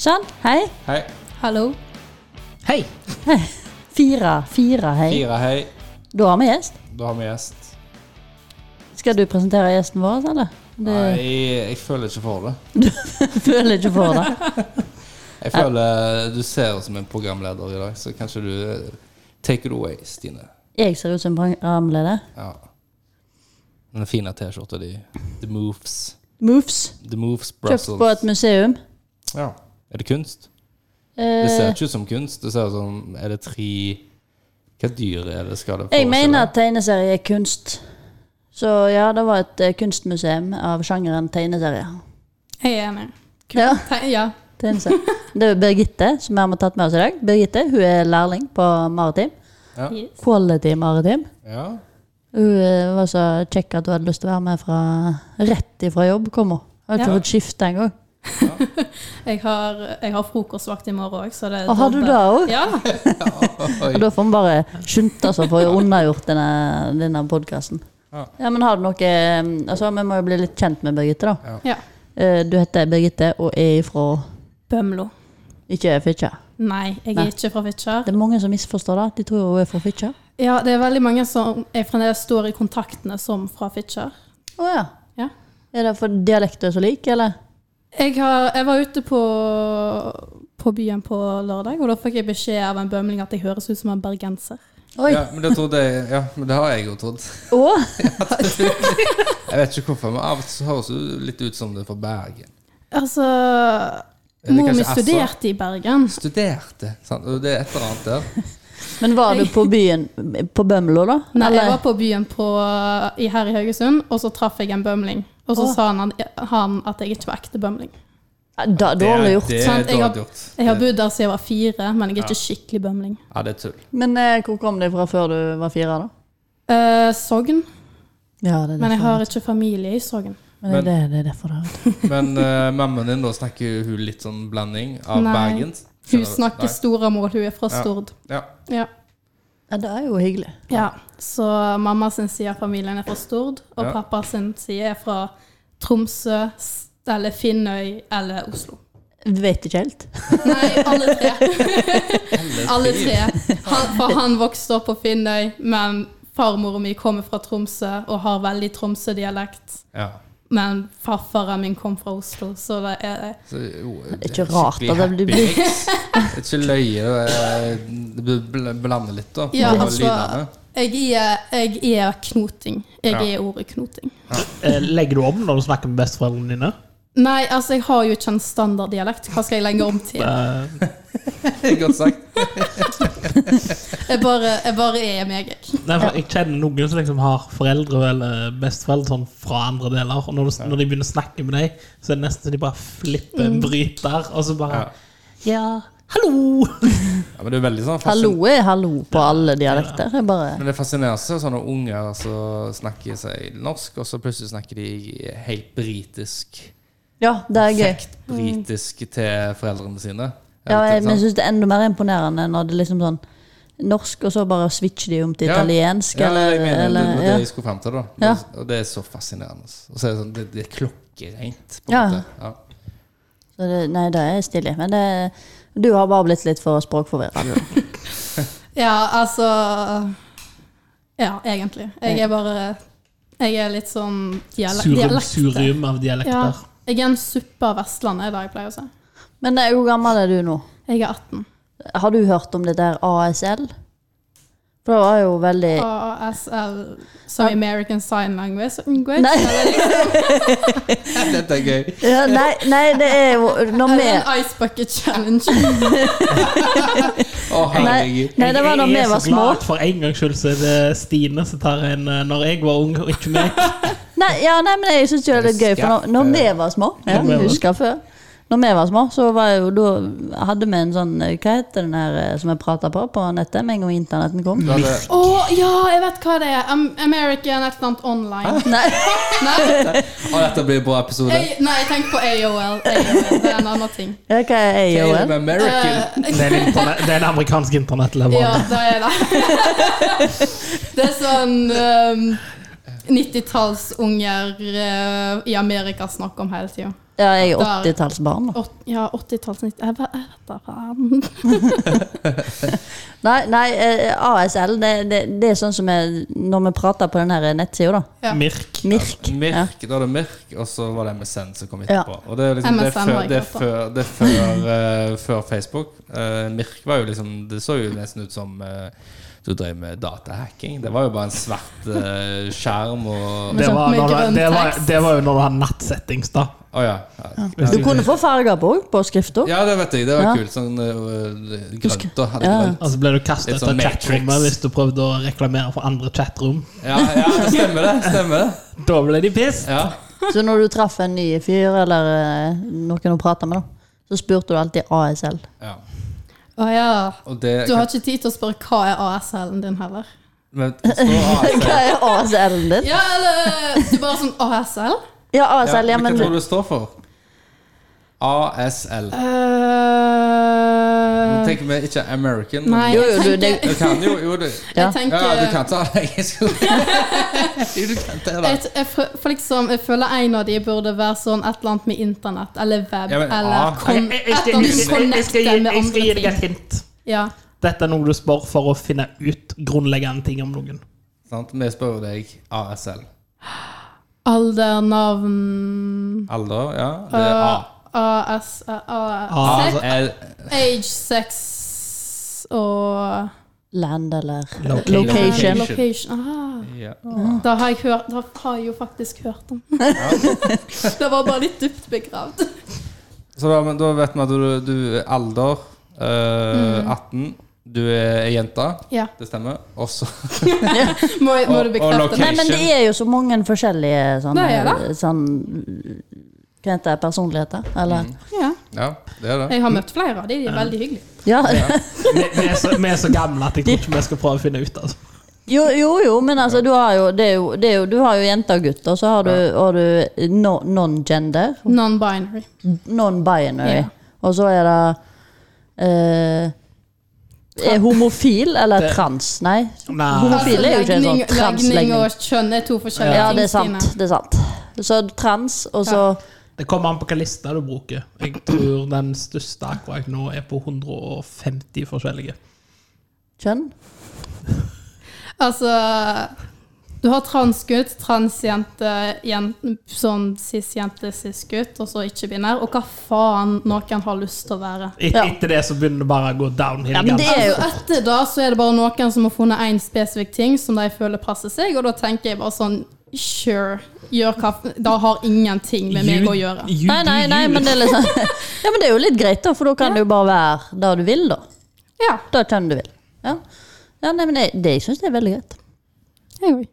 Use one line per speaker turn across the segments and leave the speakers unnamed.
Sånn. Hei.
Hei.
Hallo.
Hei.
Fire. Fire, hei.
Fire hei.
Da har vi gjest.
Da har vi gjest.
Skal du presentere gjesten vår, eller? Du
Nei, jeg føler ikke for det.
føler ikke for det.
Jeg føler du ser ut som en programleder i dag, så kanskje du eh, Take it away, Stine.
Jeg ser ut som programleder.
Ja. Den fine T-skjorta di. The Moves.
Moves.
The Moves
Kjøpt på et
Brussels.
museum.
Ja. Er det kunst? Det
Eh,
ser ikke ut som kunst. Det ser ut som Er det tre Hva dyr er det? Skal det
jeg
forestille?
mener at tegneserie er kunst. Så ja, det var et eh, kunstmuseum av sjangeren tegneserie.
Jeg er med.
Ja,
Te ja.
tegneserie. Det er Birgitte som vi har tatt med oss i dag. Birgitte hun er lærling på maritim.
Ja.
Quality maritim.
ja.
Hun eh, var så kjekk at hun hadde lyst til å være med fra, rett ifra jobb. kom hun. Hun Har ikke
Ja.
fått skifte engang.
Jeg har, jeg har frokostvakt i morgen òg, så det er
Og har du det òg?
dobbelt. Ja.
Oi.
Og da får vi bare skynde oss å få unnagjort denne, denne podkasten.
Ja.
Ja, men har du noe eh, Altså, vi må jo bli litt kjent med Birgitte, da.
ja.
Eh, Du heter Birgitte og er ifra
Bømlo.
ikke Fitjar.
Nei, jeg
Nei.
er ikke fra Fitjar.
Det er mange som misforstår det. De tror hun er fra Fitjar.
Ja, det er veldig mange som jeg fremdeles står i kontaktene som fra Fitjar.
Å ja.
Ja.
Er det for dialekten er så lik, eller?
Jeg, har, jeg var ute på, på byen på lørdag, og da fikk jeg beskjed av en bømling at jeg høres ut som en bergenser.
Oi.
Ja, men det trodde jeg Ja, men det har jeg jo trodd.
Å?
Jeg vet ikke hvorfor, men av og til så høres det litt ut som det er fra Bergen.
Altså
Eller
Mor mi
kanskje Assa.
studerte i Bergen.
Studerte, sant? og det er et eller annet der.
Men var du på byen på Bømlo, da?
Nei, jeg
Eller-
var på byen på, i, her i Haugesund, og så traff jeg en bømling. Og så
Åh.
sa han, at- han at jeg ikke var ekte bømling.
Ja, da, Dårlig gjort.
Det er
sant? Jeg har-
dårlig gjort.
Jeg har
Det-
bodd der siden jeg var fire, men jeg er ikke skikkelig bømling.
Ja, det er tull.
Men eh, hvor kom de fra før du var fire, da?
Eh, Sogn,
Ja, det er
men jeg
derfor.
har ikke familie i Sogn.
Men det, er det, det er derfor det er
Men eh, mammaen din, da snakker jo hun litt sånn blanding av
Nei.
Bergen?
Hun snakker
Nei.
Storamål, hun er fra
Ja.
Stord.
Ja.
Ja.
Ja, det er jo hyggelig.
ja. Så mamma sin side av familien er fra Stord, og
Ja.
pappa sin side er fra Tromsø, S- eller Finnøy, eller Oslo.
Vet ikke helt.
Nei, alle tre. Alle tre.
tre.
Han, for han vokste opp på Finnøy, men farmor og mi kommer fra Tromsø og har veldig Tromsø-dialekt.
Ja.
Men farfaren min kom fra Oslo, så det er
Så, jo,
Det er ikke rart
skikkelig
at det blir-
happy mix. Det er ikke løye. eh, Det blir bl- blander litt, da.
Ja,
på
altså,
lydene.
jeg er, jeg er knoting. Jeg
Ja.
er ordet knoting.
Eh, Legger du om når du snakker med besteforeldrene dine?
Nei, altså, jeg har jo ikke en standarddialekt. Hva skal jeg legge om til?
Eh,
Godt sagt.
Jeg bare, jeg bare er meg, jeg.
nei, for jeg kjenner noen som liksom har foreldre eller besteforeldre sånn fra andre deler, og når, du, når de begynner å snakke med deg, så er det nesten så de bare flipper
Mm.
en bryt der, og så bare
Ja.
Ja, hallo!
Ja, men det er veldig sånn fascin-
Hallo er hallo på alle dialekter. Det er bare
Men det fascinerer seg sånne unger som snakker seg norsk, og så plutselig snakker de helt britisk.
Ja, det er gøy.
Perfekt britisk til foreldrene sine.
Ja, jeg,
Helt,
men jeg
sant?
syns det er enda mer imponerende når det er liksom sånn norsk, og så bare switcher de om til
Ja.
italiensk,
ja,
eller,
jeg mener,
eller
det, det,
ja.
jeg skulle frem til, da. Men,
Ja.
Og det er så fascinerende. Og så er det, sånn, det, det er klokkereint, på en
Ja.
måte. Ja.
Så det, Nei, det er stilig. Men det, du har bare blitt litt for språkforvirra.
Ja, altså Ja, egentlig. Jeg er bare Jeg er litt sånn dialekt.
Surum, surum av
Ja,
dialekter.
jeg er en suppe av Vestlandet, er det jeg pleier å si.
Men eh, hvor gammel er du nå?
Jeg er 18.
Har du hørt om dette her ASL? For det var jo
Eh.
veldig
ASL, som American Sign Language. Language.
Nei.
Dette er gøy.
ja, nei, nei, det er jo når vi
Eller en Ice Bucket Challenge.
Å, herregud.
Nei, det var da
jeg
vi
er så
var små.
glad for en gangs skyld så er det Stine som tar en eh, når jeg var ung, og ikke meg.
Nei, ja, nei, men jeg synes jo det er litt gøy, for når, når vi var små ja,
Når vi
jeg
var-
husker før, Når vi var små, så var jo, da hadde vi en sånn eh, Hva heter den her eh, som jeg prata på på nettet med en gang internetten kom?
Da hadde-
Å ja, jeg vet hva det er. Am- American et eller annet online.
Nei,
Nei.
Å, dette blir en bra episode.
Jeg, nei, jeg tenker på AOL. AOL. Det er en annen ting.
ja, hva er
Tale of
AOL?
American.
Det er en, interne- det er en amerikansk
Ja,
internettleverandør.
det er det. Det er sånn um, 90-tallsunger eh, i Amerika snakker om hele tida.
Ja, jeg er
Der.
80-tallsbarn nå.
Åt, ja, 80-tallsnitt Jeg vet da faen.
Nei, nei eh, ASL, det, det, det er sånn som jeg, når vi prater på den her eh, nettsida, da.
Ja.
Mirk.
Mirk. Ja.
Mirk, da er det Mirk, og så var det MSN som kom
Ja.
etterpå. Og det er liksom det er
MSN
før,
var ikke
det er
oppe.
før, det er før, eh, før Facebook. Eh, Mirk var jo liksom Det så jo nesten ut som eh, du drev med datahacking. Det var jo bare en svart eh, skjerm og
Men
Det
sånn
var,
med
når
grønn
du, det, var,
tekst.
det var jo når du hadde nattsettings, da.
Å ja. ja.
Du kunne få farger på òg, på skrifta.
Ja, det vet jeg. Det
Ja.
var kult. Sånn eh, grønt
Husker-
og hadde
Ja.
grønt.
Altså ble du kastet
Litt
ut av
sånn Matrix.
chatrommet hvis du prøvde å reklamere for andre chatrom.
Ja, ja, det stemmer det. Stemmer det.
Da ble de piss!
Ja.
Så når du traff en ny fyr eller eh, noen å prate med, da, så spurte du alltid ASL.
ja.
Å ja.
Og det
Du har ikke tid til å spørre hva er ASL-en din heller.
Men står
Hva er ASL-en din?
Ja, eller Du bare sånn ASL?
Ja,
ASL,
ASL, ja, men
Hva
du
tror du det står for? ASL.
Eh, Uh,
Tenk meg ikke American. men-
nei,
Jo,
jeg
jo, du, det-
tenker,
Du kan jo, jo du.
Ja.
jeg tenker
Ja, du kan ta det engelsk. du kan ta det.
Jeg, jeg, fø- for liksom, jeg føler en av de burde være sånn et eller annet med internett eller web
Ja, men,
eller
ah.
kon, et eller annet connecte med andre ting.
hint.
Ja.
Dette er noe du spør for å finne ut grunnleggende ting om noen.
Sant? Vi spør deg ASL.
Alder, navn eh,
Alder, ja. Det er A.
AS
Ah,
Sex,
altså-
L,
age, sex og
Land eller
Location.
location.
Location.
location. Ah,
ja.
da har jeg hørt Da har jeg jo faktisk hørt om. det var bare litt dypt begravd.
Så da, men da vet vi at du, du er alder eh, 18. Du er ei jente.
Ja.
Det stemmer. Og så
Må, jeg- må
Og-
du
og
bekrefte
location.
Nei,
det?
men det er jo så mange forskjellige sånne,
Det er
sånn Hva heter det? Personligheter? Eller?
Ja.
Ja, det er det.
Jeg har møtt flere av de, de er veldig hyggelige.
Ja.
Vi, vi, er så, vi er så gamle at jeg tror ikke vi skal prøve å finne ut. Altså.
Jo, jo, jo, men altså, du har jo, det er jo, det er jo Du har jo jenter og gutter, og så har du, har du no, non-gender.
Non-binary.
Ah. Non-binary.
Ja.
Og så er det eh, Er homofil eller
Det-
trans? Nei.
Nei.
Homofile er jo ikke en sånn
Altså, legning- legning
translegning.
og kjønn er to forskjellige
Ja, det er
ting.
sant. Det er sant. Så trans, og så
Det kommer an på hvilken liste du bruker. Jeg tror den største akkurat nå er på 150 forskjellige.
kjønn.
Altså Du har transgutt, transjente, jen- sånn cis-jente, cis-gutt, og så ikke-binær. Og hva faen noen har lyst til å være.
Et,
Ja.
Etter det så begynner det bare å gå downhill.
Ja, men det
ganske.
er jo
Så Altså, etter da så er det bare noen som har funnet én spesifikk ting som de føler passer seg, og da tenker jeg bare sånn Sure. Gjør hva f- Da har ingenting med meg å gjøre.
You- you
Nei, nei,
do
nei,
you.
men det er, liksom, ja, men det er jo litt greit, da, for da kan det jo bare være det du vil, da.
Ja.
Det kjønn du vil. Ja, ja nei, men det, det, jeg syns det er veldig greit.
Jeg òg.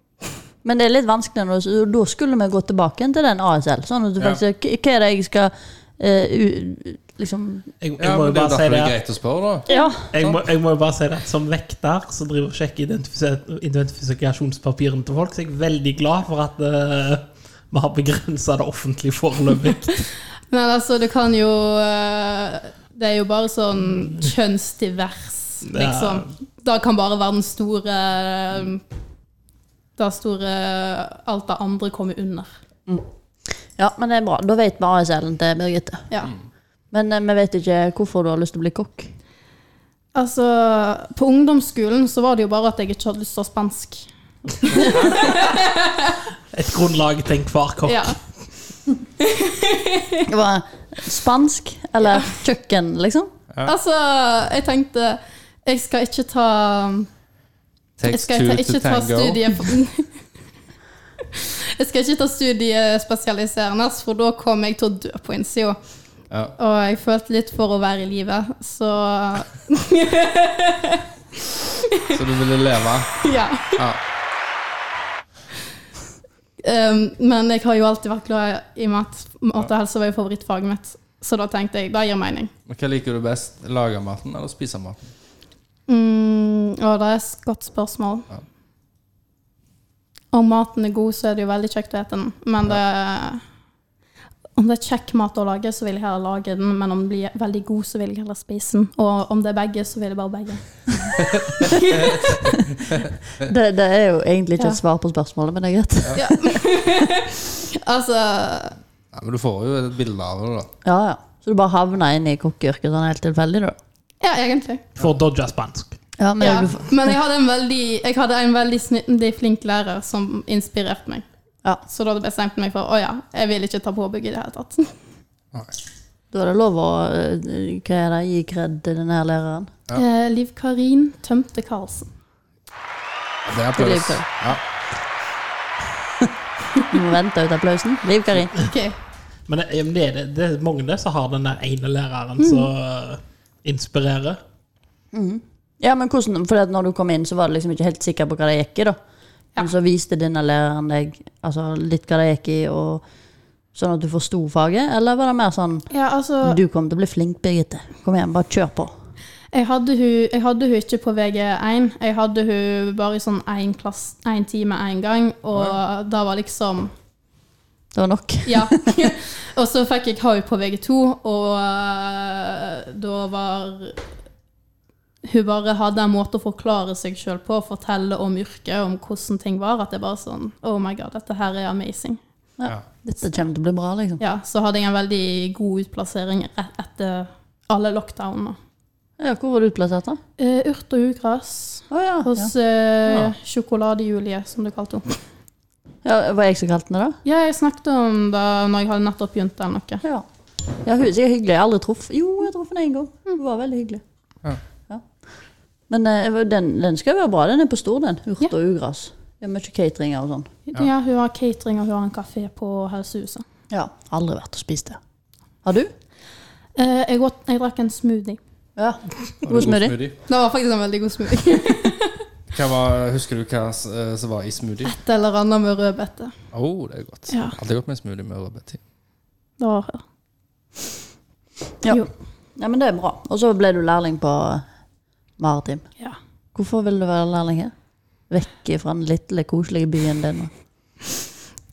Men det er litt vanskelig, når, så da skulle vi gå tilbake igjen til den ASL. Sånn at du
Ja.
faktisk sier, "K- Hva er det jeg skal eh, u, liksom
Jeg, jeg
Ja,
må
men
jo
det er
bare si
derfor det
det.
er
at-
greit å spørre, da.
Ja.
Jeg må, jeg må jo bare si det at Som vekter som driver og sjekker identifis- identifikasjonspapirene til folk, så er jeg veldig glad for at eh, vi har begrensa det offentlige foreløpig.
Men altså, det kan jo eh, Det er jo bare sånn kjønnsdivers,
Mm.
Det er-
liksom. Da kan bare være den store Det store Alt det andre kommer under.
ja, men det er bra. Da vet vi ASL-en til Birgitte.
Ja.
Men eh, vi vet ikke hvorfor du har lyst til å bli kokk.
Altså, på ungdomsskolen så var det jo bare at jeg ikke hadde lyst til å ha spansk.
Et grunnlag til enhver kokk.
Ja.
Det var spansk eller kjøkken, liksom.
Altså, jeg tenkte jeg skal ikke ta Jeg
Takes
skal ta,
two to
ikke ta
tango.
studie Jeg skal ikke ta studiespesialiserende, for da kommer jeg til å dø på innsida.
Ja.
Og jeg følte litt for å være i live, så
Så du ville leve.
ja.
Ja.
Um, men jeg har jo alltid vært glad i mat. Mat og helse var jo favorittfaget mitt, så da tenkte jeg det gir mening.
Men Hva liker du best? Lage maten eller spise maten?
Mm, og det er et godt spørsmål.
Ja.
Om maten er god, så er det jo veldig kjekt å ete den, men det om det er kjekk mat å lage, så vil jeg heller lage den, men om den blir veldig god, så vil jeg heller spise den. Og om det er begge, så vil jeg bare begge.
Det, det er jo egentlig ikke
Ja.
et svar på spørsmålet, men det er greit.
Ja. altså
Ja, Ja, men du får jo et bilde av det, da.
Ja, ja. Så du bare havna inn i kokkeyrket sånn helt tilfeldig, da?
Ja, egentlig.
For å dodge spansk.
Ja, men
Ja.
du får-
Men jeg hadde en veldig, jeg hadde en veldig snittlig flink lærer som inspirerte meg.
Ja.
Så da bestemte jeg meg for å ja, jeg vil ikke ta påbygg i det hele tatt.
Da er det lov å eh, hva er det, gi kred til den her læreren.
Ja.
Eh, Liv Karin tømte Karlsen.
Det er
Det blir
applaus.
bra.
Ja.
Du må vente ut applausen. Liv Karin.
Ok.
Men det, men det, er det, det er mange der som har den der ene
Mm.
læreren som eh, inspirerer.
Ja, men hvordan, fordi at når du kom inn, så var du liksom ikke helt sikker på hva det gikk i, da. Men så viste denne læreren deg altså, litt hva det gikk i, og sånn at du forsto faget? Eller var det mer sånn
Ja, altså,
Du kommer til å bli flink, Birgitte. Kom igjen, bare kjør på.
jeg hadde, hun, jeg hadde hun ikke på VG1. Jeg hadde hun bare i sånn én klass- én time én gang, og da var liksom
Det var nok.
Ja. og så fikk jeg henne på VG2, og eh, da var Hun bare hadde en måte å forklare seg sjøl på, fortelle om yrket, om hvordan ting var, at det bare sånn Oh my god, dette her er amazing.
Ja. Dette kommer til å bli bra, liksom.
Ja, så hadde jeg en veldig god utplassering rett etter alle lockdownene.
Ja, hvor var du utplassert, da?
Eh, urt og ugras
Å ja. Ja.
hos eh, Sjokolade-Julie, som du kalte henne.
ja. Var jeg som kalte den det, da?
Ja, jeg snakket om det når jeg hadde nettopp begynt der noe.
Ja. ja hun er sikkert hyggelig. Jeg har aldri truff. Jo, jeg traff henne én gang. Hun var veldig hyggelig.
Ja.
Ja. Men eh, den, den skal være bra. Den er på stor, den. Urt
Ja.
og ugras. Det er mye cateringer og sånn.
Ja. hun har catering, og hun har en kafé på Helsehuset.
Ja. Aldri vært og spist det. Har du?
Eh, jeg, åt, jeg drakk en smoothie.
Ja.
Og
God smoothie.
Det var faktisk en veldig god smoothie.
Hva var, husker du hva s- eh, som var i smoothie?
Et eller annet med rødbete.
Å, oh, det er godt.
Ja.
Alltid godt med smoothie med rødbete.
Det var det.
Ja.
Jo.
ja, men det er bra. Og så ble du lærling på eh, Maritim.
Ja.
Hvorfor ville du være lærling her? Vekk fra den lille, koselige byen din.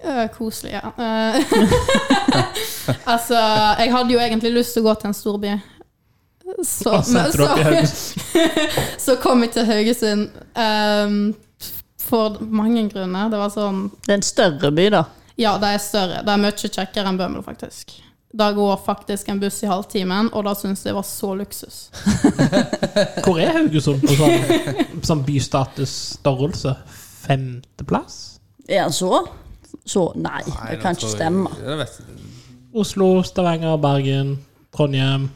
Eh, koselig, ja. Eh, altså, jeg hadde jo egentlig lyst til å gå til en storby. Så, men,
Og setter opp i
så,
Haugesund.
så kom jeg til Haugesund ehm, for mange grunner. Det var sånn
Det er en større by, da.
Ja, det er større. Det er mye kjekkere enn Bømlo, faktisk. Da går faktisk en buss i halvtimen, og da syns jeg det var så luksus.
Hvor er Haugesund på sånn, sånn bystatusstørrelse? Femteplass?
Ja, så? Så Nei, det kan ikke stemme.
Jeg vet,
Oslo, Stavanger, Bergen, Trondheim.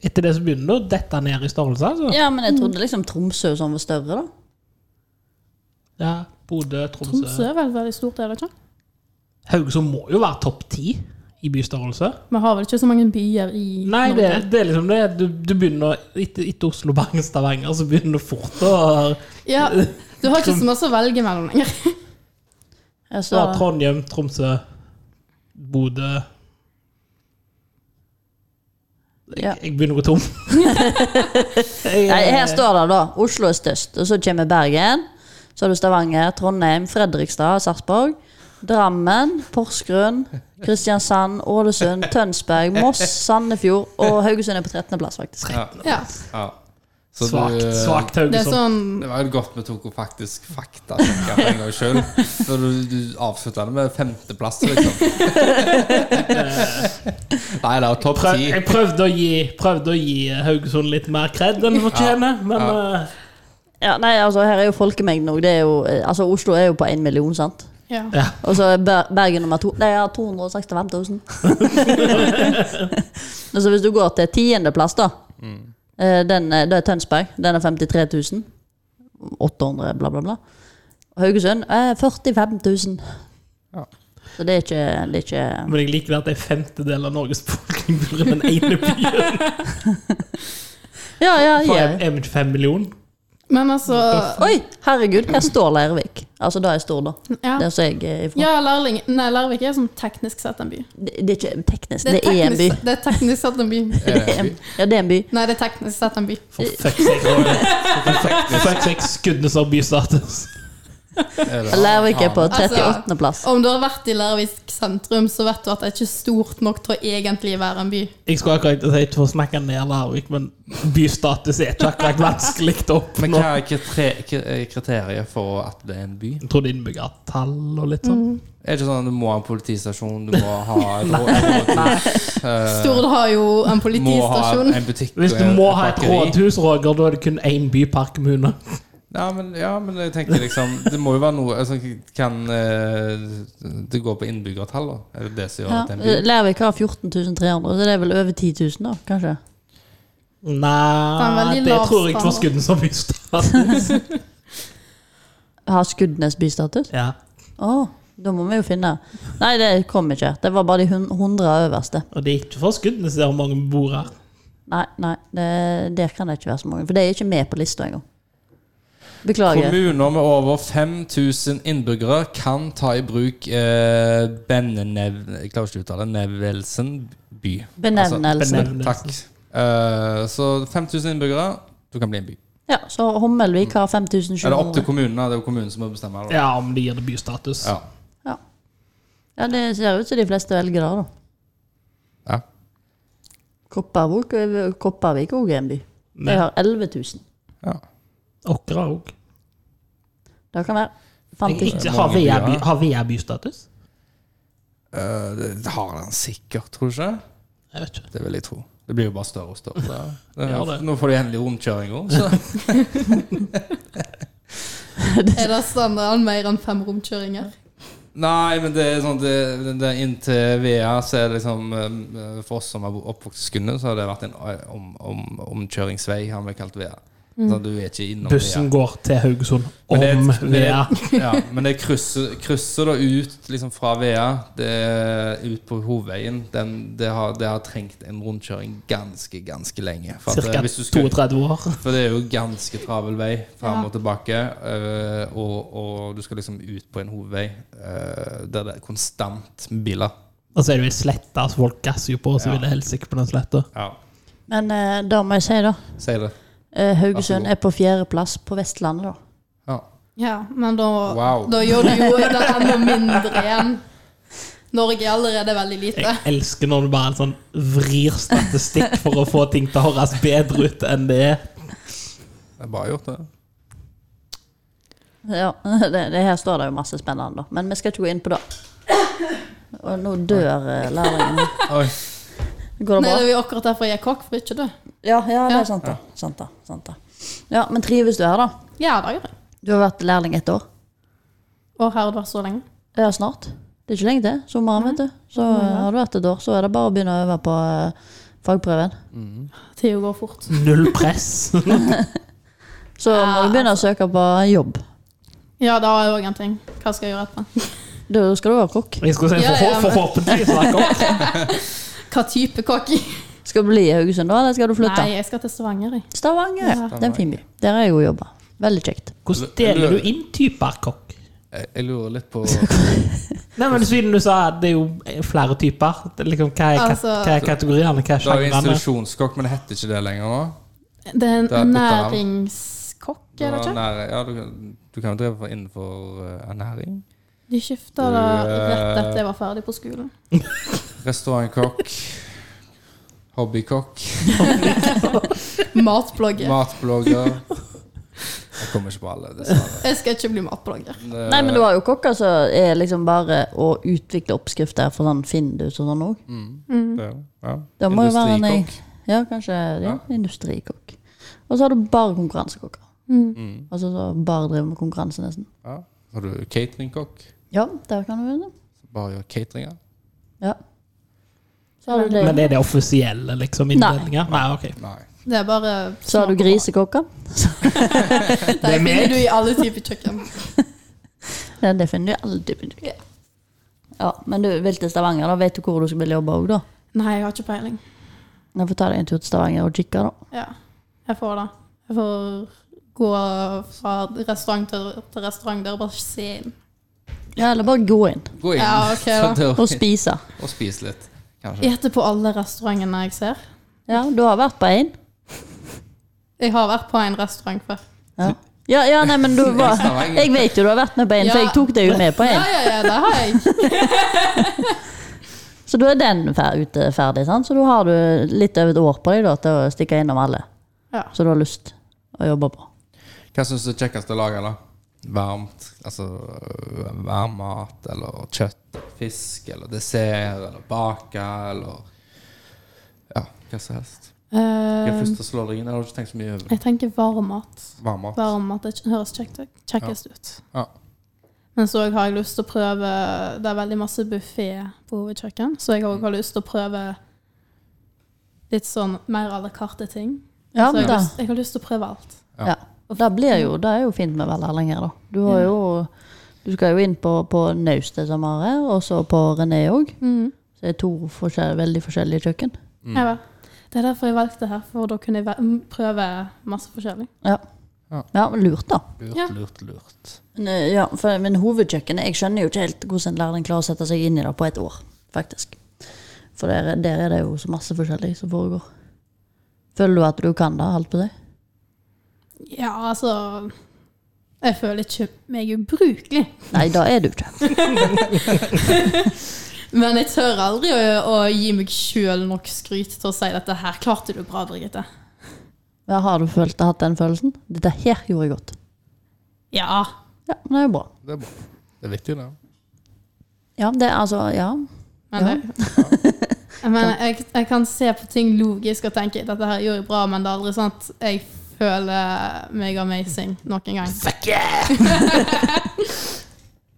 Etter det så begynner det å dette ned i størrelse. altså.
Ja, men jeg trodde liksom Tromsø og sånn var større, da.
Ja, Bodø, Tromsø.
Tromsø er vel veldig stort, er det ikke?
Haugesund må jo være topp ti i bystørrelse.
Vi har vel ikke så mange byer i
Nei, det,
Norge?
det er liksom det. Du, du begynner å- etter, etter Oslo, Bergen, Stavanger, så begynner du fort å
Ja, du har ikke så mye å velge mellom lenger.
Jeg
så
så,
er Trondheim, Tromsø, Bodø jeg,
Ja.
jeg begynner å gå tom. Jeg,
nei, her står det, da. Oslo er størst, og så kommer Bergen. Så har du Stavanger, Trondheim, Fredrikstad, Sarpsborg. Drammen, Porsgrunn, Kristiansand, Ålesund, Tønsberg, Moss, Sandefjord. Og Haugesund er på 13.-plass, faktisk.
ja,
Ja,
ja. Så
Svakt,
du, eh,
svakt
det er
Haugesund.
sånn
Det var jo godt vi tok og faktisk fakta tenker jeg, for en gang selv. For du, du avslutta det med femteplass, liksom. Nei, det er jo topp
Prøv,
ti.
jeg prøvde å, gi, prøvde å gi Haugesund litt mer kred enn de fortjener, men eh,
Ja, nei, altså, her er jo folkemengden òg. Altså, Oslo er jo på én million, sant?
ja.
ja.
Og så er Ber- Bergen nummer to. Nei, jeg har 265 000. Og så hvis du går til tiendeplass, da. eh, Den, eh, det er Tønsberg. Den er 53 000. 800, bla, bla, bla. Haugesund eh, 45 000.
Ja.
Så det er ikke, det er ikke
Men jeg liker det at en femtedel av Norges befolkning bor i den ene byen.
Ja, ja,
For
ja.
er er vi ikke fem millioner?
Men altså
Oi, herregud, her står Leirvik. Altså, det er stor, da.
Ja,
Der som jeg er sånn. ifra.
ja Lærling, nei, Larvik er sånn teknisk sett en by.
Det, det er ikke teknisk, det er en by.
teknisk, det er teknisk sett en by.
Er det
Det er
en
en- Ja, det er en by.
Nei, det er teknisk sett en by.
For fuck's sake. For fuck's sake, skuddene som har bystatus.
Er det-
Lærvik er på
Hamar.
38. plass.
Om du har vært i Lærvik sentrum, så vet du at det er ikke stort nok til å egentlig være en by.
Jeg skulle akkurat til å si to snakker ned Larvik, men bystatus er ikke akkurat vanskelig å
Men
oppnå.
hva er kritre- k- eh, kriteriet for at det er en by?
Jeg tror det er innbyggertall og litt sånn.
Mm.
Er det ikke sånn at du må ha en politistasjon, du må ha et rådhus eh,
Stord har jo en
Må ha
politistasjon.
en butikk
Hvis
og
du
en-
må ha et
bakeri.
rådhus, Roger, da er det kun én by per kommune.
Ja men, ja, men jeg tenker liksom Det må jo være noe altså, Kan eh, det gå på innbyggertall, da? Er det det som gjør
Ja.
at det er en by?
Lærvik har 14 300, så det er vel over 10 000, da, kanskje?
er
Nei,
veldig
det
lav
tror jeg ikke var
standard.
skudden som bystatus.
Har Skudenes bystatus?
ja.
Å, da må vi jo finne Nei, det kom ikke. Det var bare de hun- 100 øverste.
Og det er ikke for skuddene som er hvor mange bor her.
Nei, nei, det, der kan det ikke være så mange. For det er ikke med på lista engang. Beklager.
Kommuner med over 5000 innbyggere kan ta i bruk eh, Bennenev... Jeg klarer ikke å uttale det. Nevelsen by. altså,
Benevnelsen.
Benevn- Nevelsen.
Takk. Eh, så 5000 innbyggere, du kan bli en by.
Ja, så Hommelvik har
Er det opp
5700.
til kommunene? Det er jo kommunen som må bestemme. Da.
Ja, om de gir det bystatus.
Ja.
Ja. ja, det ser ut som de fleste velger det, da.
Ja.
Kopervik Kopervik er også en by. De
Nei.
har 11 000.
Ja.
Åkra òg.
Det kan være. Fant ikke.
Mange
Har Vea by-
byer.
har Vea bystatus?
Eh, det- det har han sikkert, tror du ikke?
Jeg vet ikke.
Det vil jeg tro. Det blir jo bare større og større. Det- det-
Ja, det.
Nå får de endelig rundkjøring òg, så
Er det standarden mer enn fem romkjøringer?
Nei, men det er sånn det, det, det er Inntil VEA så er det liksom eh, For oss som har oppvokst i Skunde, så har det vært en eh, om, om, omkjøringsvei, har vi kalt VEA. Så du er ikke innom
Bussen
VEA.
går til Haugesund
Men det er-
om
det
Vea.
er- Ja, men det krysser, krysser da ut liksom fra VEA, det er ut på hovedveien. Den, det, har, det har trengt en rundkjøring ganske, ganske lenge. For at, eh,
Ca.
hvis du skulle-
32 år.
for det er jo ganske travel vei fram
Ja.
og tilbake. eh, og, og du skal liksom ut på en hovedvei eh, der det er konstant biler.
Og så er det jo ei slette, så folk gasser jo på, så
Ja.
vil det helsike på den sletta.
Ja,
Men eh, da må jeg si, da.
si det.
eh,
Vær så
Haugesund
god.
er på fjerdeplass på Vestlandet, da.
Ja.
Ja, men da,
Wow.
da gjør du jo det enda mindre igjen. Norge er allerede veldig lite.
Jeg elsker når du bare en sånn vrir statistikk for å få ting til å høres bedre ut enn det er.
Jeg har bare gjort det.
Ja, det, det her står det jo masse spennende, da. Men vi skal ikke gå inn på det. Og nå dør eh, lærlingen.
Oi.
Går det
Nei, det
bra?
er jo akkurat derfor jeg er kokk, for ikke du.
Ja, ja, det
Ja.
er sant, da. Sant, da. Sant, da. Ja, men trives du her, da?
Ja, det gjør jeg.
Du har vært lærling ett år.
Og her har det vært så lenge.
Ja, snart. Det er ikke lenge til. Sommeren, vet du. Så eh, har du vært et år, så er det bare å begynne å øve på eh, fagprøven.
Tida går fort.
Null press.
Så må du
altså.
begynne å søke på jobb.
Ja, det har jeg òg en ting. Hva skal jeg gjøre etterpå?
Da skal du være kokk.
Jeg skulle si
Ja, ja,
forhå-
men-
forhåpentligvis. da, kom.
Hva type kokk?
Skal du bli i Haugesund da, eller skal du flytte?
Nei, jeg skal til Stavanger, jeg.
Stavanger.
Ja.
Det er en fin by. Der har jeg jo jobba. Veldig kjekt.
Hvordan deler du inn typer kokk?
Jeg, jeg lurer litt på
Nei, men Siden du sa at det er jo flere typer, det er liksom, hva, er, kat-
Altså-
hva er kategoriene? Hva er
Du har jo
sjangrene?
institusjonskokk, men det heter ikke det lenger nå?
Det er
Det er
en
et byttenavn.
næringskokk,
Du,
er det
har
ikke?
nær, ja, du, kan- du kan jo drive for- innenfor eh, ernæring.
De skifta det rett
Eh.
etter jeg var ferdig på skolen.
Restaurantkokk. Hobbykokk.
Matblogger.
Matblogger. Jeg kommer ikke på alle, dessverre.
Jeg skal ikke bli matblogger.
Nei, men
Eh,
du har jo kokker som er liksom bare å utvikle oppskrifter for sånn Findus og sånn òg.
Det- Ja.
Det må jo være en
Industrikokk.
Ja, kanskje ja,
Ja.
industrikokk. Og så har du bare konkurransekokker.
Mm.
Altså så bare driver med konkurranse, nesten.
Ja. Har du cateringkokk?
Ja, der kan du vinne.
Bare gjør cateringer?
Ja. Så har du
Men
det.
er det offisielle liksom, inndelinger? Nei. ok.
Nei.
Det er bare
Så har du grisekokker.
Det
er meg.
finner du i alle typer kjøkken.
Det, det finner du alltid på
Ja.
Duke. Ja, men du vil til Stavanger, da vet du hvor du skal vil jobbe òg, da?
Nei, jeg har ikke peiling.
Jeg får ta deg en tur til Stavanger og kikke, da.
Ja, jeg får det. Jeg får gå fra restaurant til, til restaurant der og bare se inn.
Ja, eller bare gå inn
Gå inn
Ja, ok, da.
Så
og
dør vi.
spise.
og spis litt. Kanskje.
Gjette på alle restaurantene jeg ser.
Ja, du har vært på én.
Jeg har vært på en restaurant før.
Ja. Ja, ja, nei, men du var
Stavanger.
Jeg vet jo du har vært med på en, for
Ja.
jeg tok deg jo med på
Ja,
en.
ja, ja, det har jeg.
Så da er den fer- ute ferdig, sant? så da har du litt over et år på deg da, til å stikke innom alle.
Ja.
Så du har lyst å jobbe på.
Hva syns du er kjekkest å lage, da? Varmt? Altså øh, varm mat, eller kjøtt, fisk, eller dessert, eller bake, eller Ja, hva som helst. Hva
Um,
er det første som slår deg inn? Jeg har ikke tenkt så mye over
Eh, jeg tenker varm mat.
varm mat.
Varm mat det høres kjekt, kjekkest ut.
Ja.
Men så har jeg lyst til å prøve Det er veldig masse buffé på hovedkjøkken, så jeg
Mm.
også har lyst til å prøve litt sånn mer à la carte-ting.
Ja,
så jeg,
men da,
har lyst, jeg har lyst til å prøve alt.
ja. Da blir jo, det er jo fint med veldig lenger, da. Du,
Mm.
har jo, du skal jo inn på, på Naustet som har her, og så på René òg.
Mm.
Så det er to forskjell, veldig forskjellige kjøkken.
Ja, vel. det er derfor jeg valgte her, for da kunne jeg ve- m, prøve masse forskjellig.
Ja.
Ja.
ja, men lurt, da.
Ja.
Lurt, lurt, lurt.
Men, eh, ja, for, men hovedkjøkkenet Jeg skjønner jo ikke helt hvordan læreren klarer å sette seg inn i det på et år, faktisk. For der, der er det jo så masse forskjellig som foregår. Føler du at du kan det, holdt på å si?
Ja, altså Jeg føler ikke meg ubrukelig,
Nei, det er du ikke.
men jeg tør aldri å, å gi meg sjøl nok skryt til å si dette her klarte du bra, Birgitte.
Men har du følt, hatt den følelsen? Dette her gjorde jeg godt.
Ja.
Ja, men det er jo bra.
Det er bra. Det er viktig, det.
Ja, det er altså Ja.
Men,
Ja.
det, men jeg, jeg kan se på ting logisk og tenke dette her gjorde jeg bra, men det er aldri sånn at jeg føler meg amazing nok en gang.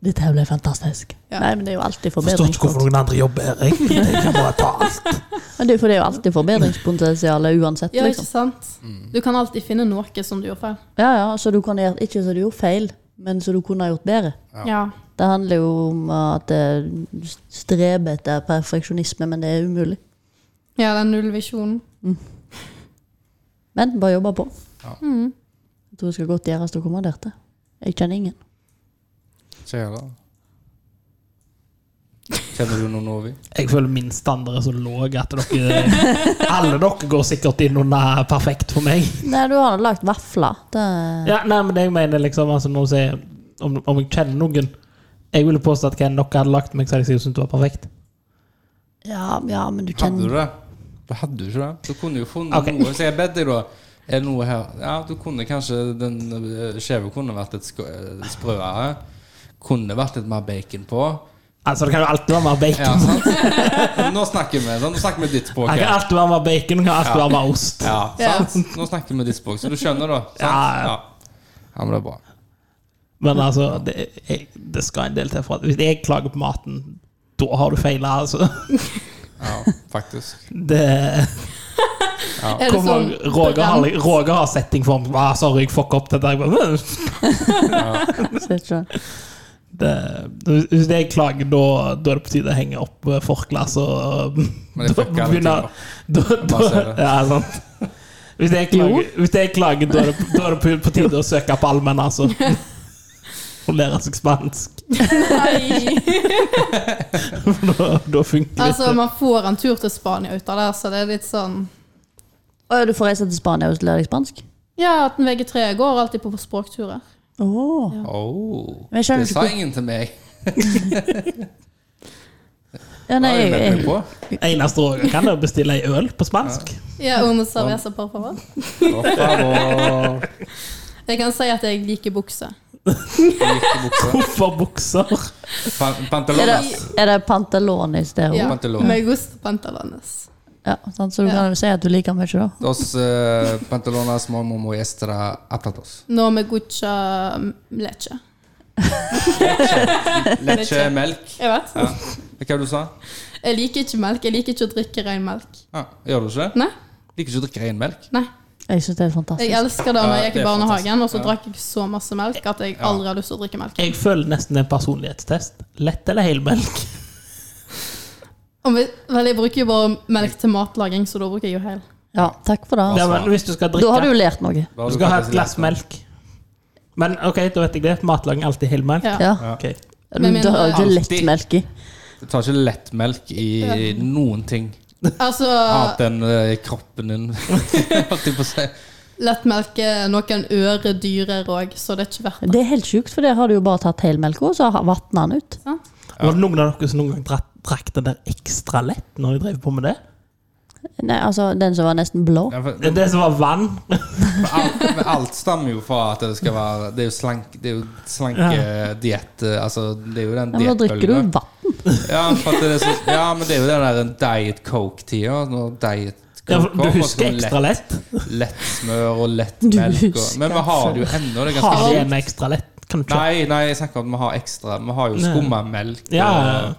Dette her ble fantastisk.
Ja.
Nei, men det er jo alltid
Forstår ikke
forbedringspotensial.
hvorfor noen andre jobber her. Jeg, jeg kan bare ta alt.
Men det er jo for det er jo alltid forbedringspotensial uansett,
Ja, ikke
liksom.
sant?
Mm.
Du kan alltid finne noe som du gjorde feil.
Ja, ja, så du kunne gjort ikke så du gjorde feil, men så du kunne ha gjort bedre.
Ja.
Det handler jo om at eh, du streber etter perfeksjonisme, men det er umulig.
Ja, den nullvisjonen.
Men bare jobbe på.
Ja.
Mm.
Jeg tror det skal godt gjøres å komme der til. Jeg kjenner ingen.
Ikke jeg heller. Kjenner du noen Novi?
Jeg føler min standard er så lav at dere Alle dere går sikkert inn under perfekt for meg.
Nei, du har lagd vafler. Det...
Ja, nei, men det jeg mener liksom altså, når jeg, sier- om, om jeg kjenner noen Jeg ville påstå at hva enn dere hadde lagt meg, så hadde jeg sikkert syntes det var perfekt.
Ja, ja, men du
Hadde
kjenner
du det? Du hadde jo ikke det. Du kunne jo funnet
Ok.
noe. Så jeg bedt deg, da. Er det noe her Ja, du kunne kanskje Den eh, skjeve kunne vært litt sk- eh, sprøere. Kunne vært litt mer bacon på.
Altså, det kan jo alltid være mer bacon.
Ja, sant? Men Nå snakker vi sånn. Nå snakker vi ditt språk.
Det kan
her.
alltid være mer bacon, det kan alltid være mer ost.
Ja,
Ja.
sant? Nå snakker vi ditt språk, så du skjønner, da. Sant?
Ja, ja.
Ja. ja, men det er bra.
Men altså, det, jeg, det skal en del til for at Hvis jeg klager på maten, da har du feila, altså.
Ja, faktisk.
Det
Er det
kommer
sånn
Roger har,
brent?
Roger har setting for meg. Ah, sorry, jeg fucker opp dette. Jeg bare, «Øh».
så jeg skjønner.
det, hvis jeg klager, da, da er det på tide å henge opp eh, forklas og
Men jeg
Da
fucker alle ting
begynner-
opp.
da, da,
bare ser det.
Ja, sant. Hvis jeg klager, hvis jeg klager da, er det, da er det på, på tide å søke på allmenn, altså. Og lære seg spansk.
Nei!
Da, da funker det
Altså,
ikke.
man får en tur til Spania ut av det, så det er litt sånn
Å, ja, du får reise til Spania og lære deg spansk?
Ja, at en VG3 går alltid på språkturer.
Åh.
Oh,
Men jeg skjønner
det
ikke
sa
hvor-
ingen til meg.
Ja, nei,
Hva har
jeg,
du meldt meg
jeg,
på?
Eneste Roger kan jo bestille ei øl på spansk.
Ja, under serviesa, por favor.
Å, faen, å.
Jeg kan si at jeg liker bukser.
Gikk i buksa.
Hvorfor bukser?
Pan-
er, det,
Pantalones.
er det pantalonis der
Ja.
òg?
Pantalon.
Med gusto pantalones.
Ja. sant, så du kan jo si at du liker mye, da.
Dos eh, pantalones momo muestra aptatos.
No me gucha leche.
Leche, melk.
Jeg vet.
Ja. Hva du sa
Jeg liker ikke melk. Jeg liker ikke å drikke ren melk.
Ja, Ah, Gjør du ikke?
Nei.
Liker ikke å drikke ren melk?
nei.
Jeg syns det er
Jeg
fantastisk.
elsker det da
Ja,
jeg gikk
det
i
er
barnehagen, og så
fantastisk.
drakk jeg så masse melk at jeg aldri har lyst til å drikke melk.
Jeg føler nesten en personlighetstest. Lett eller helmelk?
Og vi- vel, jeg bruker jo bare melk til matlaging, så da bruker jeg jo hel.
Ja, takk for
Altså.
det. altså.
Ja, men hvis du skal
Da har du
drikke,
jo lært noe.
Hva har
du skal ha
faktisk
et glass
lært om?
melk. Men ok, da vet jeg det. Matlaging er alltid helmelk.
Ja.
Ja.
Ok.
Du
Men-
har jo ikke lett
Alltid.
melk i.
Du tar ikke lettmelk i noen ting
Altså,
annet enn eh, kroppen din. Holdt jeg på å si.
Lettmelk er noen øre dyrere òg, så det er ikke verdt det.
Det er helt sjukt, for der har du jo bare tatt helmelka, og så har- vatner den ut.
Sant?
Var det noen av dere som noen gang drakk, drakk den der ekstra lett når de drev på med det?
Nei, altså den som var nesten blå.
Ja, for,
Det, det som var vann?
men alt, men alt stammer jo fra at det skal være Det er jo slank Det er jo slankediett Altså, det er jo den
Ja, men da drikker du
diettbølgen.
vann.
Ja, for at det er så, ja, men det er jo den der diet coke-tida. Når diet
Ja,
coke
for du husker ekstra
lett,
lett?
lett smør og lett
Du
melk. Og,
husker
men vi har det jo ennå. Det er
Har
ganske
det med ekstra lett? Kan du ikke?
Nei, nei, jeg snakker om at vi har ekstra. Vi har jo
Nei.
skummamelk.
Ja, ja, ja.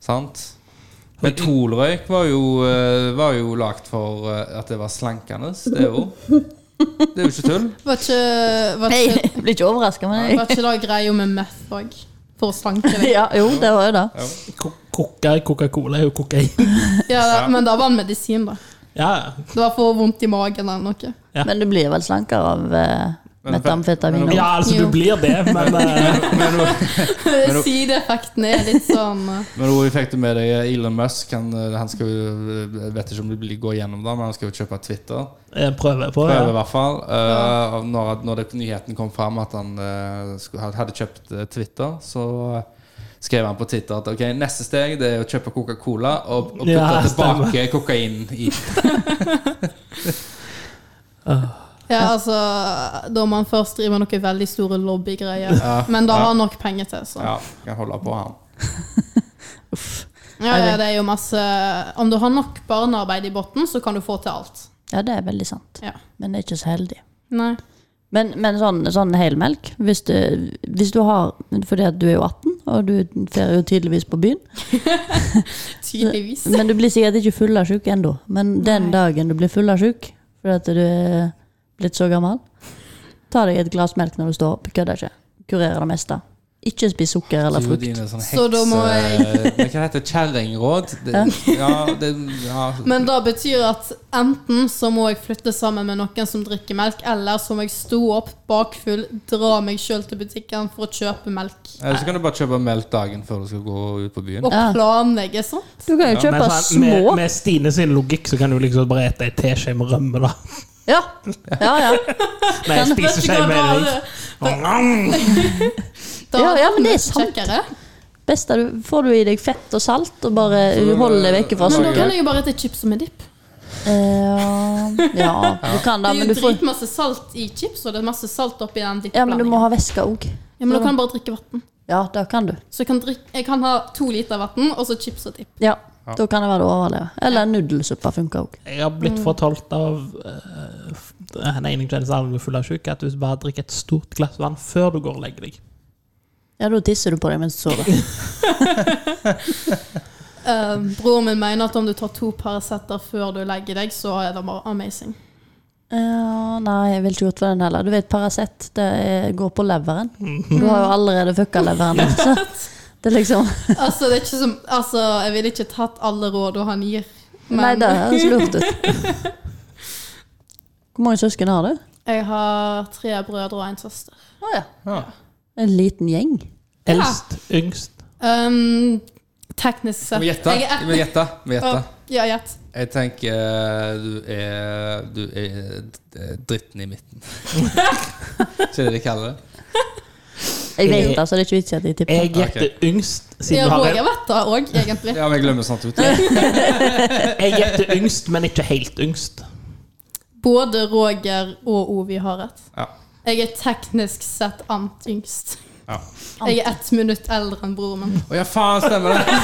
Sant? Metolrøyk var jo, eh, var jo lagt for eh, at det var slankende. Det er jo Det er jo ikke tull.
Var ikke, var
Nei,
ikke,
jeg blir ikke overraska, men jeg
var ikke det greia med meth òg? For å slanke deg.
ja, Jo, det var jo det.
Ja.
Ko- Koka Coca-Cola er jo kokain.
Ja, men det var en medisin, da.
Ja,
Det var for vondt i magen eller noe.
Ja.
Men du blir vel slankere av eh,
Men-
metamfetamin.
men-
også.
ja altså, du
Jo.
blir det, men eh,
Men nå- du-
Sideeffekten er litt sånn eh,
Men nå fikk du med deg Elon Musk. Han, eh, han skal jo, jeg vet ikke om det blir- går gjennom, da, men han skal jo kjøpe Twitter.
jeg prøver på.
Prøve, i
Ja.
hvert fall. Eh, og når, når det, nyheten kom fram at han eh, skulle- had- hadde kjøpt eh, Twitter, så eh, skrev han på Twitter at ok, neste steg det er å kjøpe Coca-Cola og, og putte
Ja, stemmer.
tilbake kokain i.
Ja, altså Da man først driver noe veldig store lobbygreier.
Ja,
Men det
ja.
har nok penger til, så.
Ja, kan holde på han.
Ja, ja, det er jo masse Om du har nok barnearbeid i bunnen, så kan du få til alt.
Ja, det er veldig sant.
Ja.
Men det er ikke så heldig.
Nei.
Men, men sånn, sånn helmelk hvis du, hvis du har Fordi at du er jo 18, og du ferier jo tydeligvis på byen.
Tydeligvis.
Men du blir sikkert ikke fullasjuk ennå. Men den
Nei.
dagen du blir fullasjuk fordi at du er blitt så gammel, ta deg et glass melk når du står opp. Kødder ikke. Kurerer det meste. Ikke spis sukker eller frukt.
Dine sånne hekse,
Så da må jeg-
Men Hva heter det? Kjerringråd? Det- Ja, det ja.
Men det betyr at enten så må jeg flytte sammen med noen som drikker melk, eller så må jeg stå opp bakfull, dra meg sjøl til butikken for å kjøpe melk.
Eller så kan du bare kjøpe melk dagen før du skal gå ut på byen.
Og
Ja.
planlegge sånn.
Du kan jo
Men
kjøpe
sånn, med,
små.
med Stine sin logikk så kan du liksom bare ete ei teskje med rømme, da.
Ja, ja. ja.
Nei, jeg spiser ikke ei mer. jeg.
Da
Ja, ja, men det er
mye
sant.
kjekkere.
Beste du får du i deg fett og salt og bare
Så-
holder deg vekke fra
Men da
sukker.
kan jeg jo bare spise chips med dipp.
Eh, Ja, du kan det,
Det er
men
jo
du får
dritmasse salt i chips, og det er masse salt oppi den
Ja, men du må ha
dippblandingen.
væske òg.
Ja, men da kan jeg bare drikke vann.
Ja, det kan du.
Så jeg kan, drikke, jeg kan ha to liter vann, og så chips og dipp.
Ja, Da kan det være du overlever. Eller nudelsuppe funker òg.
Jeg har blitt
Mm.
fortalt av eh, f- den ene kjendisen som er full av sjuk, at du bare drikker et stort glass vann før du går og legger deg.
Ja, da tisser du på deg mens du sover.
Eh, broren min mener at om du tar to Paracet før du legger deg, så er det bare amazing.
Ja, nei, jeg vil ikke gjort for den heller. Du vet, Paracet det er, går på leveren.
Mm.
Du har jo allerede fucka leveren din, så det er liksom
Altså, det er ikke som, altså, jeg ville ikke tatt alle råd han gir. Men
Nei, det høres lurt ut. Hvor mange søsken har du?
jeg har tre brødre og en søster.
Å ja.
Ja.
En liten gjeng.
Eldst, yngst.
Um, teknisk
Du
sett
må gjette.
Jeg
Du må
er,
gjette. Du må gjette.
ja, gjett.
Jeg tenker eh, du er, du er d- dritten i midten. Ikke det de kaller det?
Jeg vet altså, det er ikke vits i at jeg tipper.
Jeg gjetter yngst,
Ja,
siden du har
Roger vet det òg, egentlig.
Ja, men jeg glemmer sånt ut. Jeg
Jeg gjetter yngst, men ikke helt yngst.
Både Roger og Ovi har rett.
Ja.
Jeg er teknisk sett ant yngst.
Ja.
Jeg er ett minutt eldre enn broren min.
Å ja, faen, stemmer det!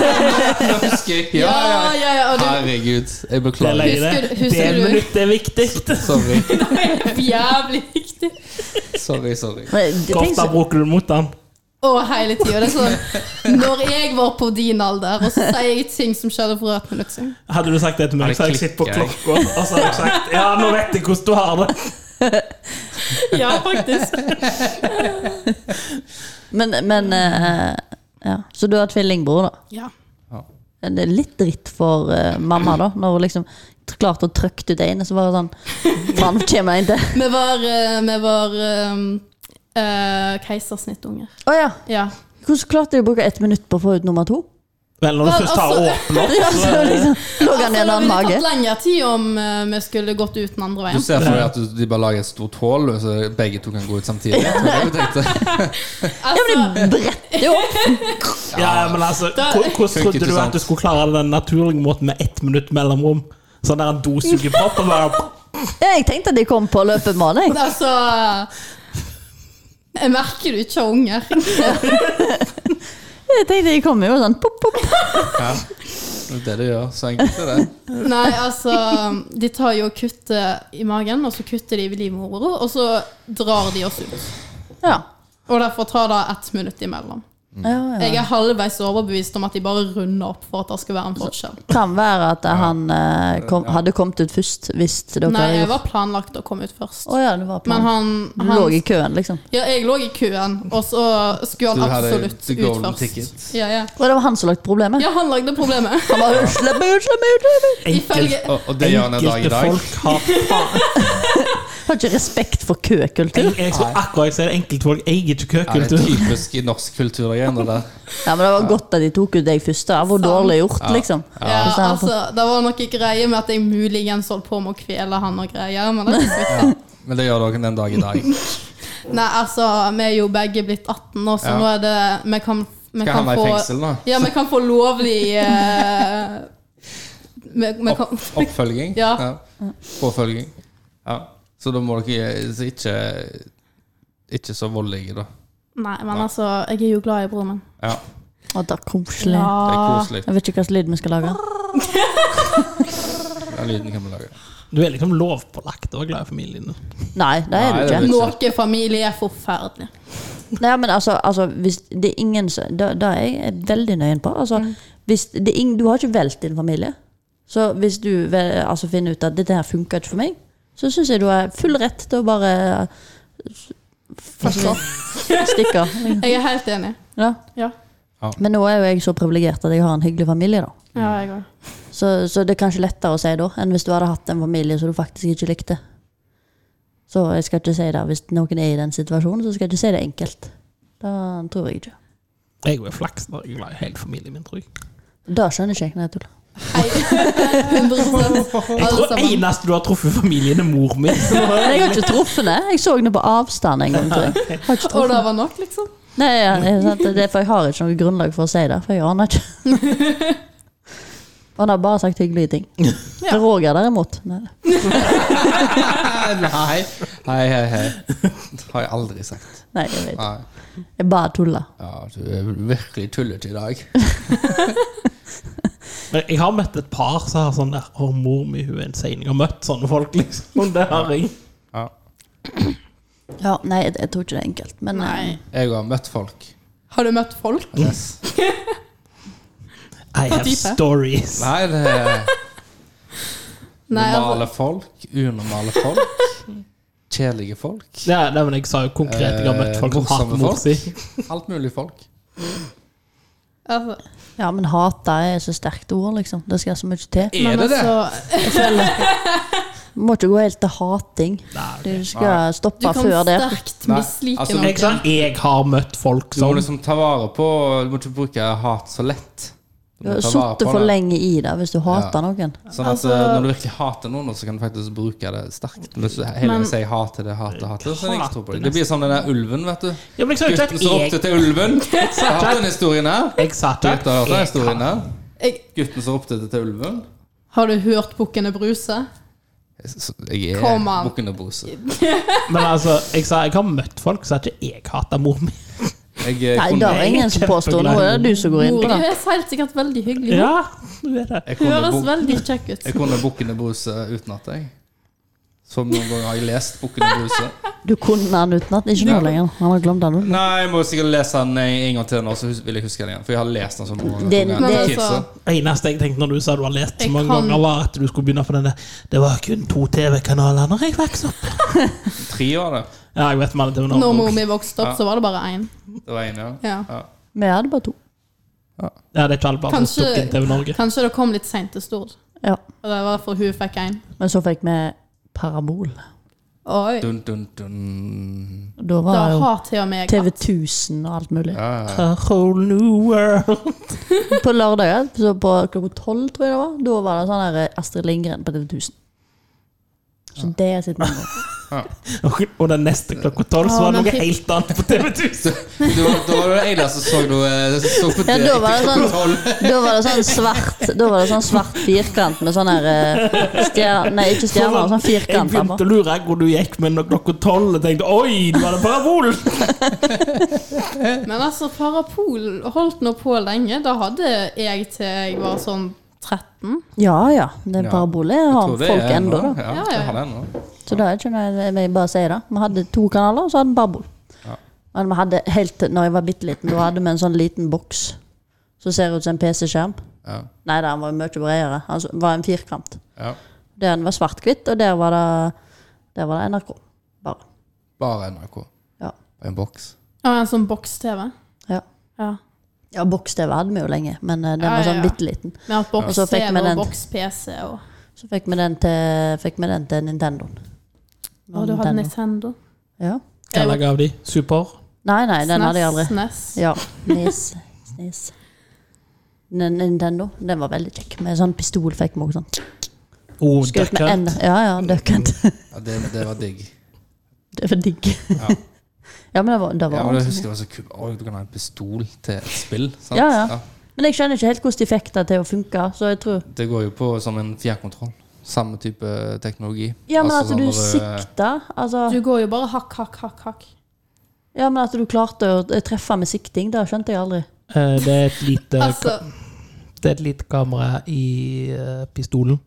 Nå husker jeg. Ja, ja.
ja, ja, og du,
Herregud, jeg
Det er
beklager.
løye.
Husker du- husker
Det
du-
minuttet er viktig.
Sorry,
Det er jævlig viktig.
sorry. sorry
Men det- tenk
Kofta
så-
bruker du mot den.
Og hele tida. Det er sånn Når jeg var på din alder, og så sier jeg ting som skjedde for et minutt siden.
Hadde du sagt det til
Ja,
meg,
det
så hadde jeg sittet på
klikker jeg.
klokka og så hadde jeg sagt Ja, nå vet jeg hvordan du har det.
Ja, faktisk.
Men, men eh, ja. Så du har tvillingbror, da?
Ja.
Det er litt dritt for eh, mamma, da. Når hun liksom t- klarte å trykke ut det inn, og så bare sånn Faen, nå kommer jeg inn til
Vi var, eh, vi var um, eh, keisersnittunger.
Å ja.
Ja.
Hvordan klarte de å bruke ett minutt på å få ut nummer to?
Vel, når du
Vel,
først har
altså-
åpna opp,
Ja,
så
så liksom, lå han i en annen
Det
mage.
ville tatt lengre tid om eh, vi skulle gått ut den andre
Du
veien.
ser for deg at du, de bare lager et stort hull, så begge to kan gå ut samtidig. Det var det jeg tenkte.
Ja,
Altså,
men de bretter jo opp.
Ja, men altså,
Da-
hvor- Hvordan
Funker
trodde
ikke
du at
sant.
du skulle klare det den naturlige måten med ett minutt mellomrom? Sånn der en dosugepropp og bare
Jeg tenkte at de kom på løpebane. jeg.
altså Jeg merker du ikke har unger.
Jeg tenkte de kom jo sånn pop, pop.
Ja, det er det de gjør. Så enkelt er det.
Nei, altså De tar jo kuttet i magen, og så kutter de i livmora, og så drar de oss ut.
Ja.
Og derfor tar det ett minutt imellom.
Mm.
Ja, ja.
Jeg er halvveis overbevist om at de bare runder opp for at det skal være en forskjell.
Kan være at han eh, kom, hadde kommet ut først hvis dere
Nei,
hadde
jeg
gjort
var planlagt å komme ut først.
Å ja, det var
Men
planen.
han,
Du
han
lå i køen, liksom.
Ja, jeg lå i køen, og så skulle
Så
han
du hadde
absolutt
the
ut
golden
først.
ticket?
Ja, ja.
Og det var han som lagde problemet?
ja, han lagde problemet.
Han bare, «Slipp meg ut, slipp meg ut, slipp meg ut!»
Enkelt.
Ifølge
Og, og det gjør han en dag i dag.
folk har faen
Har ikke respekt for køkultur.
Jeg- jeg skulle akkurat jeg sier det, enkeltfolk eier ikke
Ja, det er
køkultur.
typisk i norsk kultur igjen. Det der.
Ja, men det var godt at de tok ut deg først. da. Det var dårlig gjort, liksom.
ja,
Hvis han-
altså, Det var noe greier med at jeg muligens holdt på med å kvele han og greier. Men det er ikke så-
Men det gjør det også en dag i dag.
Nei, altså, vi er jo begge blitt 18 nå, så
Ja.
nå er det Vi kan, vi
Skal han
kan
være i
få
fengsel nå?
Ja, vi kan få lovlig eh, vi, vi kan,
Opp, oppfølging?
Ja.
Påfølging? Ja. Så da må dere så ikke Ikke så voldelige, da.
Nei, men altså, jeg er jo glad i broren min.
Ja,
sånn, Å, det er koselig.
det er
Ah.
koselig.
Jeg vet ikke hva slags lyd vi skal lage.
Den lyden kan vi lage.
Du er liksom lovpålagt å være glad i familien din.
Nei, det er
Nei,
du
det er
ikke.
du
Noe familie er forferdelig.
Nei, men altså, altså hvis det er ingen som Da, da er jeg veldig nøyen på. Altså, hvis det er ingen, du har ikke valgt din familie. Så hvis du vel, altså, finner ut at dette her funker ikke for meg, så syns jeg du har full rett til å bare Forstå. Stikke. liksom.
Jeg er helt enig.
Ja.
Ja,
Men nå er jo jeg så privilegert at jeg har en hyggelig familie, da.
ja jeg òg.
Så, så det er kanskje lettere å si da, enn hvis du hadde hatt en familie som du faktisk ikke likte. Så jeg skal ikke si det. Hvis noen er i den situasjonen, så skal jeg ikke si det enkelt. Det tror jeg ikke.
Jeg er jo flaks når jeg er glad i hele familien min, tror jeg.
Det skjønner ikke jeg. Nei, jeg tuller.
100
Jeg
alle
tror
sammen.
eneste du har truffet i familien, er mor min. Så nå
Men
er
jeg
jeg
har ikke truffet det. Jeg så henne på avstand en gang. Tror jeg. jeg. Har ikke
Og det
truffet.
var nok, liksom?
Nei, ja, det er sant, det er for jeg har ikke noe grunnlag for å si det, for jeg aner ikke. Og han har bare sagt hyggelige ting. Roger derimot. Nei.
Nei. Hei, hei, hei. Det har jeg aldri sagt.
Nei, jeg vet.
Nei.
Jeg bare tuller.
Ja, du er virkelig tullete i dag.
Men jeg har møtt et par som har sånn der Å, mor mi, hun er en seining. Jeg har møtt sånne folk, liksom. Det har jeg.
Ja.
Ja, nei, jeg, jeg tror ikke det er enkelt. Men eh,
Nei.
Jeg har møtt folk.
Har du møtt folk?
Yes.
I have
type?
stories.
Nei, det er
Nei,
normale
altså,
folk, unormale folk, kjedelige folk.
Ja, nei, men jeg sa jo konkret jeg har møtt folk som
Eh,
hater
morsomme
mor si.
Alt mulig folk.
altså,
eh, ja, men hata er så sterkt ord, liksom. Det skal så mye til.
Er det det?
altså,
Må ikke gå helt til hating.
Nei, ok.
Du skal
Du
stoppe
kan
før det.
sterkt
Nei,
mislike
altså,
Jeg
noen.
sa jeg har møtt folk
Du må
som
liksom ta vare på Du må ikke bruke hat så lett. Du
Du
må
har
ta vare
sittet
på
for
det.
lenge i det hvis du hater noen.
Sånn at eh, Når du virkelig hater noen, så kan du faktisk bruke det sterkt. Hvis du heller
Men-
sier hater det, hater, hater, så er det ikke tro på det.
Hater
Det blir som den der ulven, vet du.
Ja, men jeg sa jo ikke at
Gutten som ropte
jeg
til ulven. Jeg har hørt den historien her.
Jeg sa ikke
Dere har hørt den
at
altså,
jeg
historien
har
her.
Jeg,
Gutten som ropte til ulven.
har du hørt Bukkene Bruse?
Så Jeg er
Kom an.
bukken og bruse.
Men altså, jeg sa jeg har møtt folk, så ikke jeg hater mor mi.
Jeg eh, er
Nei,
kun-
det er ingen som påstår noe. Det er du som går inn
Mor,
på
du
det.
er helt sikkert veldig hyggelig.
Ja, du er det.
Jeg kunne,
Høres
buk-
veldig kjekk ut.
jeg kunne Bukken og Bruse utenat, jeg. Så mange ganger har jeg lest Bukken og Bruse.
Du kunne den utenat. Ikke nå
Ja.
lenger. Han har glemt den. nå.
Nei, jeg må sikkert lese den en gang til nå, så hus- vil jeg huske den igjen. For jeg har lest den så mange ganger.
Den-
Mange
Men
ganger.
det-
altså,
Tidsa.
eneste jeg tenkte når du sa du har lest så
Jeg
mange
kan-
ganger, var at du skulle begynne på den der Det var kun to TV-kanaler når jeg vokste opp.
Tre år, det.
Ja, jeg vet man, det var
når
noen
mor mi vokste opp, så var det bare én.
Det var en, ja.
Ja.
Ja.
Vi hadde bare to.
Ja, det er ikke alle barn som
Kanskje-
tok inn TV Norge.
Kanskje det kom litt seint til Stord.
Ja.
Og det var derfor hun fikk én.
Men så fikk vi parabol.
Oi.
Dun, dun, dun.
Da
Da
var det jo
har til og med
TV 1000 og alt mulig.
Ja, ja.
A whole new world.
På lørdager, så på klokka tolv, tror jeg det var, da var det sånn her eh, Astrid Lindgren på TV 1000. Så det er sitt nummer.
Og, og den neste klokka tolv så
Ja,
var det
men
noe
fy-
helt annet på TV 1000.
Du, da var det en som så noe så på
Ja,
det
da var det
etter
sånn-
kontroll.
Da var det sånn svart Da var det sånn svart firkant med sånn her eh, stjer- Nei, ikke stjerner, sånn
Jeg
firkant.
begynte å lure hvor du gikk med når klokka tolv og tenkte oi, nå er det parabol!
Men altså, Parapol holdt nå på lenge. Da hadde jeg til jeg var sånn 13.
Ja ja, det er
Ja.
parabole har folk ennå, da.
Ja,
Ja, ja,
jeg
ja.
har den nå.
Så det er ikke noe jeg- jeg bare sier det. Vi hadde to kanaler, og så hadde vi Babel.
Ja.
Men vi hadde helt til når jeg var bitte liten, da hadde vi en sånn liten boks som ser ut som en PC-skjerm.
Ja,
Nei, den var mye bredere. Altså, det var en firkant.
ja.
Der den var svart-hvitt, og der var det, der var det NRK. Bare.
Bare NRK.
Ja.
Og en boks.
Ja, en sånn boks-TV.
Ja,
Ja.
ja boks-TV hadde vi jo lenge, men eh, den
Ja,
var
ja,
sånn
ja.
bitte liten.
Med at
Og så fikk
boks-TV
vi den-
og boks-PC og
Så fikk vi den til, fikk vi den til Nintendoen.
Og du hadde E Nintendo.
Ja.
Hva lag av de? Super?
Nei, nei,
E
den hadde jeg aldri.
SNES.
Ja. Nis. Nis. N- Nintendo. Den var veldig kjekk. Med sånn pistol fikk vi også sånn.
Oh,
Skjøt med
Duckhunt.
en- Ja, ja, duckhunt.
Ja, det, det var digg.
Det var digg.
Ja.
Ja, men det var, det
Ja,
var
men jeg
ordentlig.
husker det var så kult. Oi, du kan ha en pistol til et spill. Sant?
Ja, ja. Men jeg skjønner ikke helt hvordan de fikk det til å funke, så jeg tror
Det går jo på som en fjernkontroll. Samme type teknologi.
Ja, men
Altså,
at du
sånn når, eh,
sikta, altså
Du går jo bare hakk, hakk, hakk. hakk.
Ja, men at du klarte å treffe med sikting, det skjønte jeg aldri.
Eh, Det er et lite,
Altså,
det er et lite kamera i eh, pistolen.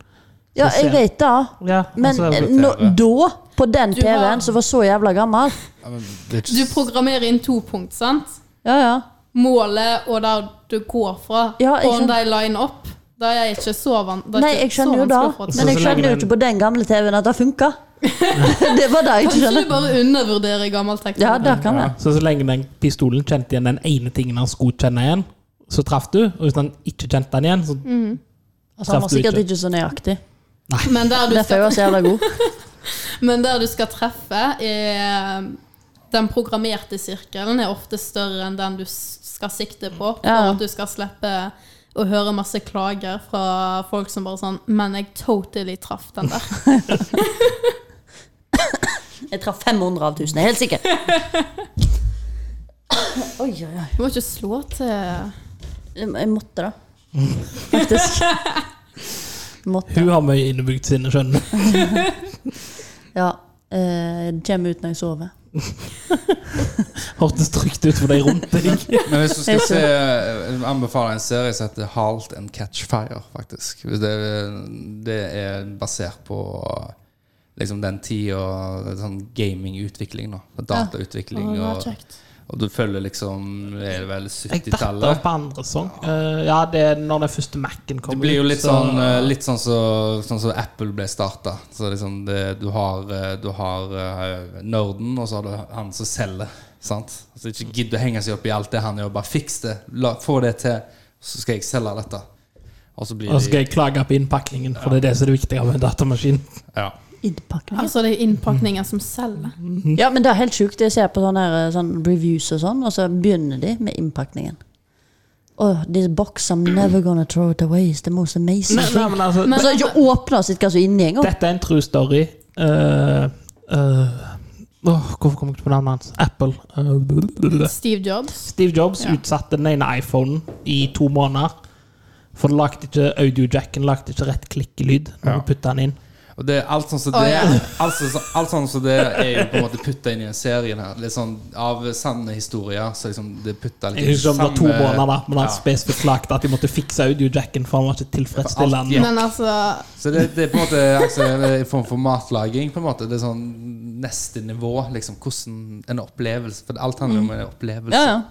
Ja, jeg
Så ser-
vet det,
Ja,
men
altså,
eh, nå- da, på den
Du har-
TV-en som var så jævla gammel
Ja, men det er ikke
du programmerer inn to punkt, sant?
Ja, ja.
Målet og der du går fra.
Ja, jeg
og om de
skjønner.
line opp. Det er ikke så, van det er
Nei,
ikke
jeg
så
skjønner jo det,
vanskelig å få
men
til.
Så-
jeg
så lenge
skjønner jo
den-
ikke på den gamle TV-en at det funka. det var det jeg ikke
Kanskje du
skjønner.
bare undervurderer gammel teknologi?
Ja, det kan
ja.
være.
Så så lenge den pistolen kjente igjen den ene tingen han skulle kjenne igjen, så traff du. Og hvis han ikke kjente den igjen, så
Altså, han var
Traff du
sikkert
ikke?
ikke så nøyaktig.
Men der du
Derfor er
skal,
jeg så jævla god.
men der du skal treffe, er den programmerte sirkelen er ofte større enn den du s- skal sikte på. For
Ja.
at du skal slippe å høre masse klager fra folk som bare sånn 'Men jeg totally traff den der'.
Jeg traff 500 av 1000, jeg er helt sikker. Oi, oi, oi.
Du må ikke slå til
Jeg jeg måtte det. Faktisk. Måtte.
hun har mye innebygd sinne, skjønner du.
Ja. Eh, kommer ut når jeg sover.
Hørtes trygt ut for de rundt deg.
Men hvis du skal
Jeg
se Jeg anbefaler en serie som heter Halt and Catch Fire, faktisk. Hvis Det, det er basert på liksom den tida sånn gamingutvikling, da. Datautvikling.
Å, det er
og,
kjekt.
og du følger liksom Er det vel
Jeg datt av
70-tallet?
på andre sang. Eh, ja, det er når den første Mac-en
Det
kommer
blir jo
ut,
litt
så-
sånn eh, Litt sånn som så, sånn som Apple ble starta. Så liksom det, du har, eh, du har eh, nerden, og så har du han som selger. Sant? Altså Ikke gidd å henge seg opp i alt det han gjør. Bare fiks det. La, få det til, så skal jeg selge dette. Og så blir
Og så skal
de
jeg klage på innpakningen, for det er det som er det viktige med en datamaskin.
ja.
Innpakning.
Altså, det er innpakningen som selger.
Ja, men det er helt sjukt. Jeg ser på sånne, her, eh, sånn reviews og sånn, og så begynner de med innpakningen. Oh, this box I'm never gonna throw it away is the most amazing
Nei, nei,
thing.
men altså,
Men så har jeg ikke åpna og sett hva som er inni engang.
Dette er en true story. Eh, eh, åh, hvorfor kom jeg ikke på navnet hans? Apple. Eh,
Steve Jobs.
Steve Jobs
Ja.
utsatte den ene iPhonen i to måneder. For det lagde ikke audiojacken lagde ikke rett klikkelyd når
Ja.
du putta den inn.
Og det, alt sånn som
Å,
det
ja.
alt, sånn- alt sånn som det er jo på en måte putta inn i den serien her. Litt sånn av sanne historier. Så liksom det putta litt
Jeg husker om det var to
samme-
måneder da, men
Ja.
han spesifikt lagde at de måtte fikse audiojacken, for han var ikke tilfredsstillende.
Ja.
Men altså
Så det, det er på en måte altså, en form for matlaging. på en måte Det er sånn neste nivå. liksom Hvordan en opplevelse For alt handler om en
Mm.
opplevelse.
Ja, ja.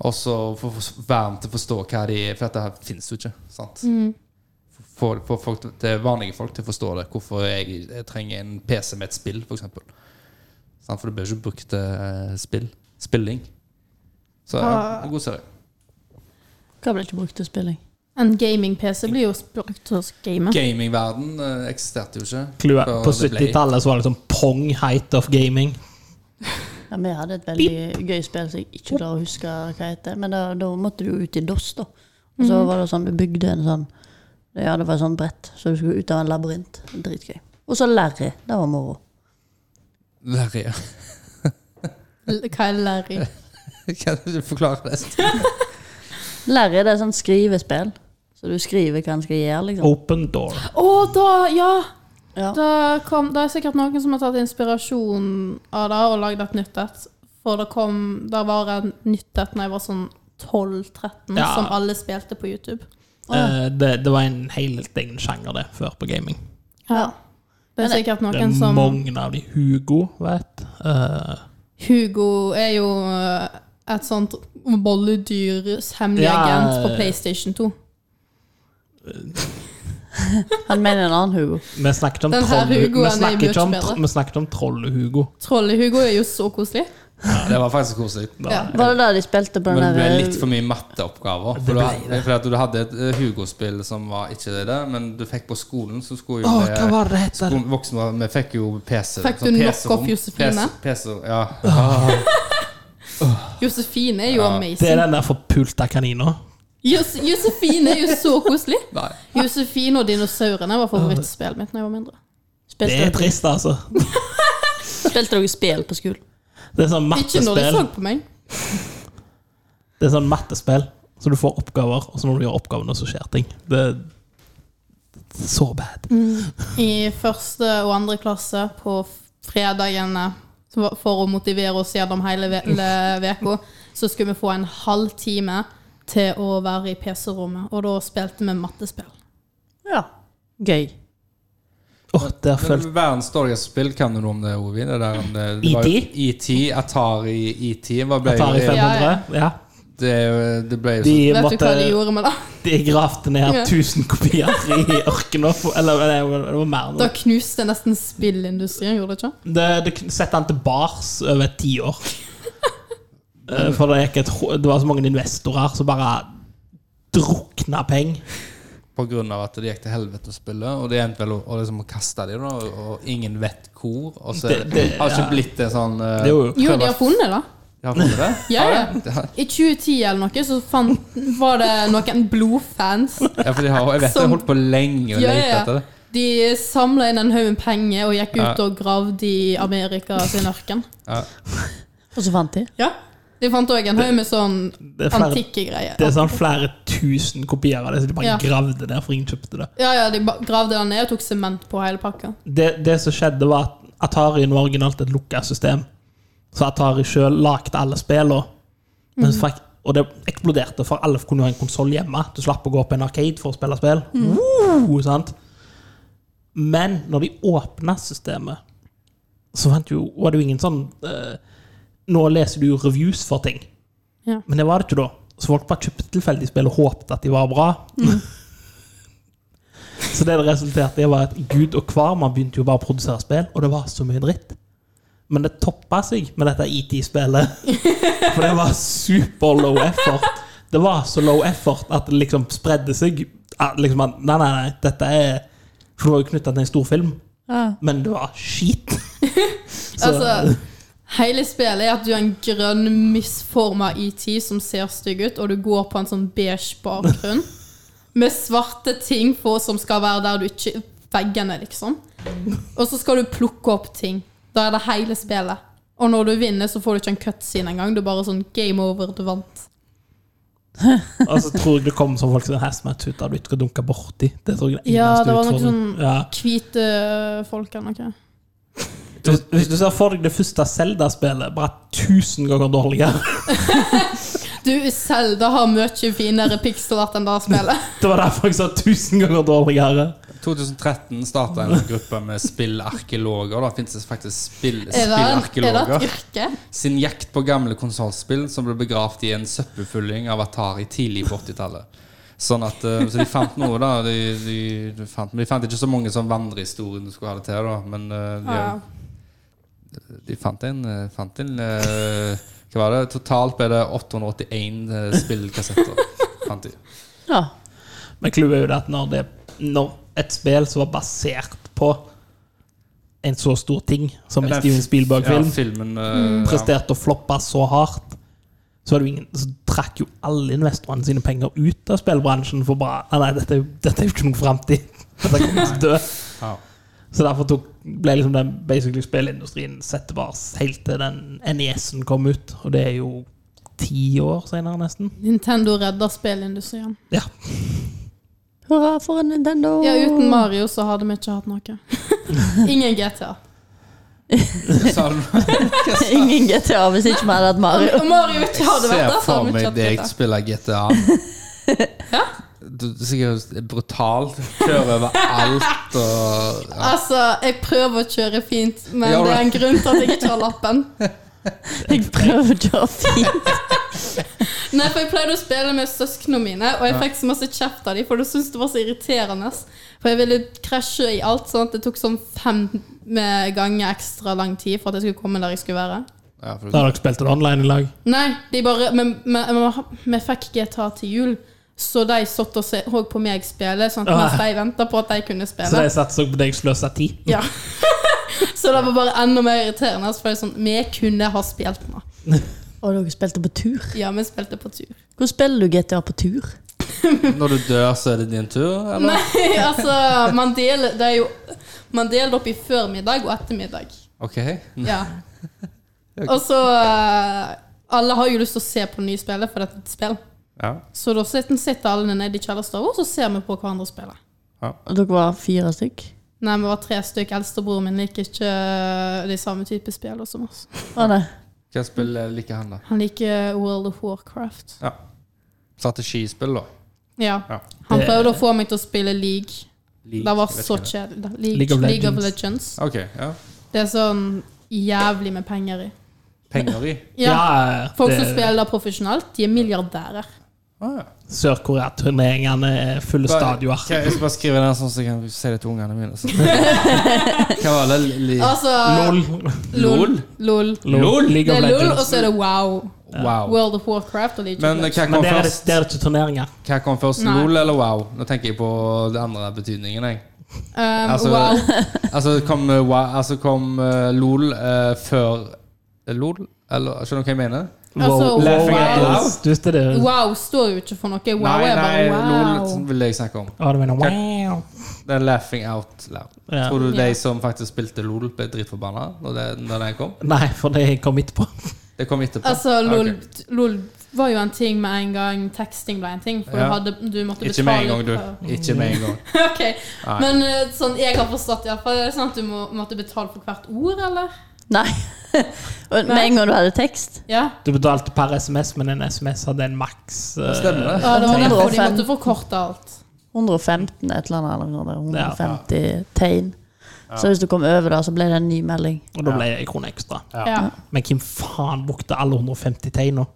Og så få få være med til å forstå hva de For dette her finnes jo ikke. sant?
Mm.
Få få folk til- til vanlige folk til å forstå det. Hvorfor jeg, jeg trenger en PC med et spill, f.eks. For, eksempel. sant? for du bør ikke brukt til eh, spill. Spilling. Så ja, en god serie.
Hva ble ikke brukt til spilling?
En gaming-PC blir jo brukt til å game.
Gamingverden eh, eksisterte jo ikke.
Klue.
før
På
det ble-
70-tallet så var det sånn pong height of gaming.
Ja, vi hadde et veldig gøy spill som jeg ikke klarer å huske hva heter. Men da, da måtte du jo ut i DOS, da. Og
Mhm.
så var det sånn, du bygde en sånn Ja, det var et sånt brett, så du skulle ut av en labyrint. Dritgøy. Og så Larry. Det var moro.
Larry, ja.
L- Hva er Larry?
Kan du forklare det?
Larry det er sånn skrivespill. Så du skriver hva en skal gjøre, liksom.
Open door.
Å, da, ja!
Ja.
Da, kom, da er det sikkert noen som har tatt inspirasjon av det og lagd et nytt et. For det kom Det var et nytt et da jeg var sånn 12-13,
Ja.
som alle spilte på YouTube.
Eh, det, det var en helt egen sjanger, det, før på gaming.
Ja.
Det
Men
er
det-
sikkert
Det er
noen som
mange av de Hugo, vet Eh,
Hugo er jo eh, et sånt bolledyrs hemmelig
Ja. eh,
agent på PlayStation 2.
Han mener en annen Hugo.
Vi snakket om
Den her
troll
Hugoen
vi
er
snakket ikke om,
mye bedre.
tro- vi snakket om Troll-Hugo.
Trolle-Hugo er jo så koselig.
Det var faktisk koselig.
Ja.
Var det da de spilte på
Men det
den
ble
der eh,
litt for mye matteoppgaver. For, du, had- for at du hadde et eh, Hugo-spill som var ikke det, der, men du fikk på skolen, så skulle jo
Åh,
vi-
hva var det het?
Skole- voksne, var- vi fikk jo PC.
Fikk
sånn
du
PC -rom.
knock-off Josefine?
PC, PC, ja. Ah,
Josefine er jo
Det er
amazing.
den der forpulta kanina.
Jos Josefine er jo så koselig.
nei.
Josefine og dinosaurene var favorittspillet mitt da jeg var mindre.
Det er
spilte, dere,
trist, altså.
spilte dere spill på skolen?
Det er sånn
Ikke når de
mattespill.
så på meg.
Det er sånn mattespill. Så du får oppgaver, og så når du gjør oppgavene, så skjer ting. Det er så bad.
Mm. I første og andre klasse på fredagene så- for å motivere oss gjennom hele ve- le- veka, så skulle vi få en halv time til å være i PC-rommet, og da spilte vi mattespill.
Ja. Gøy.
Åh, der følte
Verdens dårligste spill kan du noe om det, Ovi. Det der, om det, det var jo ET,
E.T.?
Atari ET var- ble
E Atari
jo
500. Ja.
det, det ble jo
De
så-
Vet du
måtte
hva de gjorde med det?
De gravde ned
Ja.
1000 kopier i ørkenen. for- Eller nei, det var mer enn
Da
det.
knuste nesten spillindustrien, gjorde det ikke?
Det, det setter han til bars over et tiår. Eh, For det, gikk et, ho- det var så mange investorer som bare drukna penger.
på grunn av at det gikk til helvete å spille, og det endte vel å å liksom kaste de da, og, og ingen vet hvor. Og så
Det- det-
har ikke
ja.
blitt det sånn eh,
Det er jo
Jo, de har funnet det.
De har funnet det?
Ja, ja.
ja.
I 2010 eller noe så fant, var det noen blodfans
Ja, for de har, jeg vet de har
Som-
holdt på lenge å
Ja, ja,
lete
ja.
etter det.
De samla inn en haug med penger og gikk ut
Ja.
og gravde i Amerika sin ørken.
Ja.
Og så fant de.
Ja. De fant òg en haug med sånn
det er flere,
antikke greier.
det er sånn flere tusen kopier av det, så de bare
Ja.
gravde der, for ingen kjøpte det.
Ja, ja, de ba- gravde den ned og tok sement på hele pakka.
det, det som skjedde var at Atari var originalt et lukka system. Så Atari sjøl lagde alle spillene. Men så fikk- og det eksploderte, for alle kunne ha en konsoll hjemme. Du slapp å gå på en arcade for å spille spill. Woo, sant? Men når de åpna systemet, så fant jo, var det jo ingen sånn eh, Nå leser du jo reviews for ting.
Ja.
Men det var det ikke da. Så folk bare kjøpte tilfeldige spill og håpte at de var bra. Så det det resulterte i, var at Gud og hver man begynte jo bare å produsere spill, og det var så mye dritt. Men det toppa seg med dette ET-spillet. For det var super low effort. Det var så low effort at det liksom spredde seg. At liksom at, nei, nei, nei, dette er For det var jo knytta til en stor film,
Ja.
men det var skit. Så
Altså, hele spillet er at du er en grønn, misforma ET som ser stygg ut, og du går på en sånn beige bakgrunn med svarte ting på, som skal være der du ikke Veggene, liksom. Og så skal du plukke opp ting. Da er det hele spillet. Og når du vinner, så får du ikke en cutscene engang. Du er bare sånn game over, du vant.
og så tror jeg det kom som folk som hazmat ut av du ikke skal dunke borti. Det tror jeg er den
Ja,
eneste
det var noe
utfordringen.
sånn-
ja.
Hvite folk eller noe.
Hvis, hvis du ser for deg det første Zelda-spillet, bare tusen ganger dårligere.
Du, Selda har mye finere pixelart enn det spillet.
Det var derfor jeg sa tusen ganger dårligere.
2013 starta en gruppe med spillarkeologer. Da fins det faktisk spill,
Er det, er det et
spillarkeologer.
yrke?
Sin jakt på gamle konsollspill som ble begravd i en søppelfylling av Atari tidlig på 80-tallet. Sånn at, eh, så de fant noe, da. De, de, de, fant, men de fant ikke så mange som vandrehistorien skulle ha det til, da. Men eh, de,
Ja.
de fant en, eh, fant en eh, Hva var det? Totalt ble det 881 eh, spillkassetter. Fant de.
ja.
Men clouet er jo det at når, det, når et spill som var basert på en så stor ting som en
Den
Steven Spielberg-film,
Ja, filmen
Mm.
eh,
presterte å floppe så hardt, så, var det jo ingen, så trakk jo alle investorene sine penger ut av spillbransjen for bare «Ah, Nei, dette, er jo- dette er jo ikke noen framtid. Dette kommer til å dø.
Ja.
Så derfor tok, ble liksom den basically spillindustrien sett bare helt til den NES-en kom ut, og det er jo ti år senere, nesten.
Nintendo redder spillindustrien.
Ja.
Hurra for en Nintendo!
Ja, uten Mario så hadde vi ikke hatt noe. Ingen GTA.
Ja. Sa du
Ingen GTA hvis ikke vi hadde hatt Mario.
Om Mario ikke hadde
ser
vært der, så
for
hadde vi
meg
ikke hatt
deg
GTA.
spille GTA. Du, du er sikkert brutalt. Kjører over alt og ja.
Altså, jeg prøver å kjøre fint, men
Ja,
det er
men-
en grunn til at jeg ikke har lappen.
Jeg prøver å gjøre fint.
Nei, for Jeg pleide å spille med søsknene mine, og jeg fikk så masse kjeft av dem. For de syntes det var så irriterende. For jeg ville krasje i alt, sånn at det tok sånn fem eh, ganger ekstra lang tid for at jeg skulle komme der jeg skulle være.
ja, for
Da har dere spilt det online i lag.
Nei, de bare Men men- men- vi fikk GTA til jul, så de satt og så på meg spille, sånn at
Ah.
mens de venta på at de kunne spille.
Så de satser på deg sløsa tid.
Ja. så det var bare enda mer irriterende. For det er sånn, vi kunne ha spilt nå.
Og dere spilte på tur.
Ja, vi spilte på tur.
Hvordan spiller du GTA på tur?
Når du dør, så er det din tur? Eller?
Nei, altså, man deler, det er jo, man deler opp i førmiddag og ettermiddag.
Ok.
Ja. Og så eh, Alle har jo lyst til å se på det nye spillet, for dette er et spill.
Ja.
Så da sitter sitter alle nede i kjellerstua, og så ser vi på hverandre spille.
Og dere var fire stykk?
Nei, vi var tre stykk. Eldstebroren min liker ikke eh, de samme type spill som oss.
Var det?
Hva spill liker han, da?
Han liker eh, World of Warcraft.
Ja. Strategispill, da.
Ja.
Ja.
Han
Det-
prøvde å få meg til å spille league.
League,
Det var
vet
så
ikke det.
kjedelig. League,
League
League,
of
of Legends.
Ok, ja.
Det er sånn jævlig med penger i.
Penger i.
Ja, Folk som
eh, det-
spiller profesjonelt, de er milliardærer.
Ah, ja.
Sør-Korea-turneringene er fulle
Bare-
stadioner.
Kan jeg skal bare skrive den sånn så jeg kan si det til ungene mine? Så. Hva var det? Li
Altså
LOL.
LOL. LOL.
LOL?
League
Det
of
er LOL, og
Legends.
så er det WoW.
Wow.
World of Warcraft og League
Men eh,
of
hva
Legends.
kom
Men der er, det,
først?
der er det ikke turneringer.
Hva kom først,
Nei.
LOL eller wow? Nå tenker jeg på den andre betydningen. Jeg.
Um,
altså-
WoW.
Altså kom, eh, wow, altså, kom eh, LOL eh, før eh, LOL? Eller, skjønner du hva jeg mener?
Altså,
Wow,
Laughing at
wow.
Loud?
Du visste det?
WoW står jo ikke for noe. WoW er bare
LOL
wow.
sånn vil jeg snakke om.
Ja, du mener wow.
Det er laughing out loud.
Ja.
Tror du
Ja.
de som faktisk spilte LOL, ble dritforbanna når det- når den kom?
Nei, for det kom etterpå.
Det kom etterpå.
Altså, LOL,
Ok.
LOL var jo en ting med en gang. Teksting ble en ting. For
Ja.
du, hadde, du måtte
Ikke
betale
med en gang, du.
for-
Ikke med en gang.
Ok,
Nei.
Men eh, sånn jeg har forstått, i hvert fall, er det sånn at du må, måtte betale for hvert ord, eller?
Nei. Og med en gang du hadde tekst?
Ja.
Du betalte per SMS, men en SMS hadde en maks eh,
Stemmer det?
ja det var derfor de
105.
måtte forkorte alt.
115 et eller annet. Eller noe sånt,
Ja.
150 tegn. Så hvis du kom over da, så ble det en ny melding.
Og da ble det en krone ekstra.
Ja.
Ja.
Men hvem faen brukte alle 150 tegna?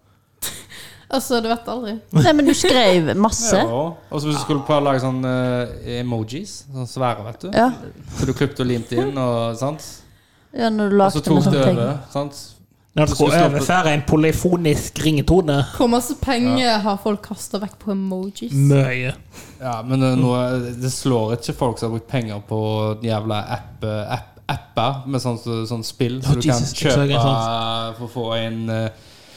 Altså, du vet aldri.
Nei, men du skrev masse.
Ja. Og så hvis du skulle prøve å lage sånne eh, emojis, sånn svære, vet du.
Ja,
Så du klippet og limte inn, og, sant?
ja når du
og så
lagde med
tok du
sånne ting.
over. Sant?
Når du skulle
skulle
overføre en polyfonisk ringetone
Hvor masse penger har folk kasta vekk på emojis?
Mye.
Ja, men eh, nå, det slår ikke folk som har brukt penger på jævla app, eh, app, apper med sånn, sånn spill
Oh,
som du kan
Jesus, jeg så
kjøpe
en sånn.
for å få en eh,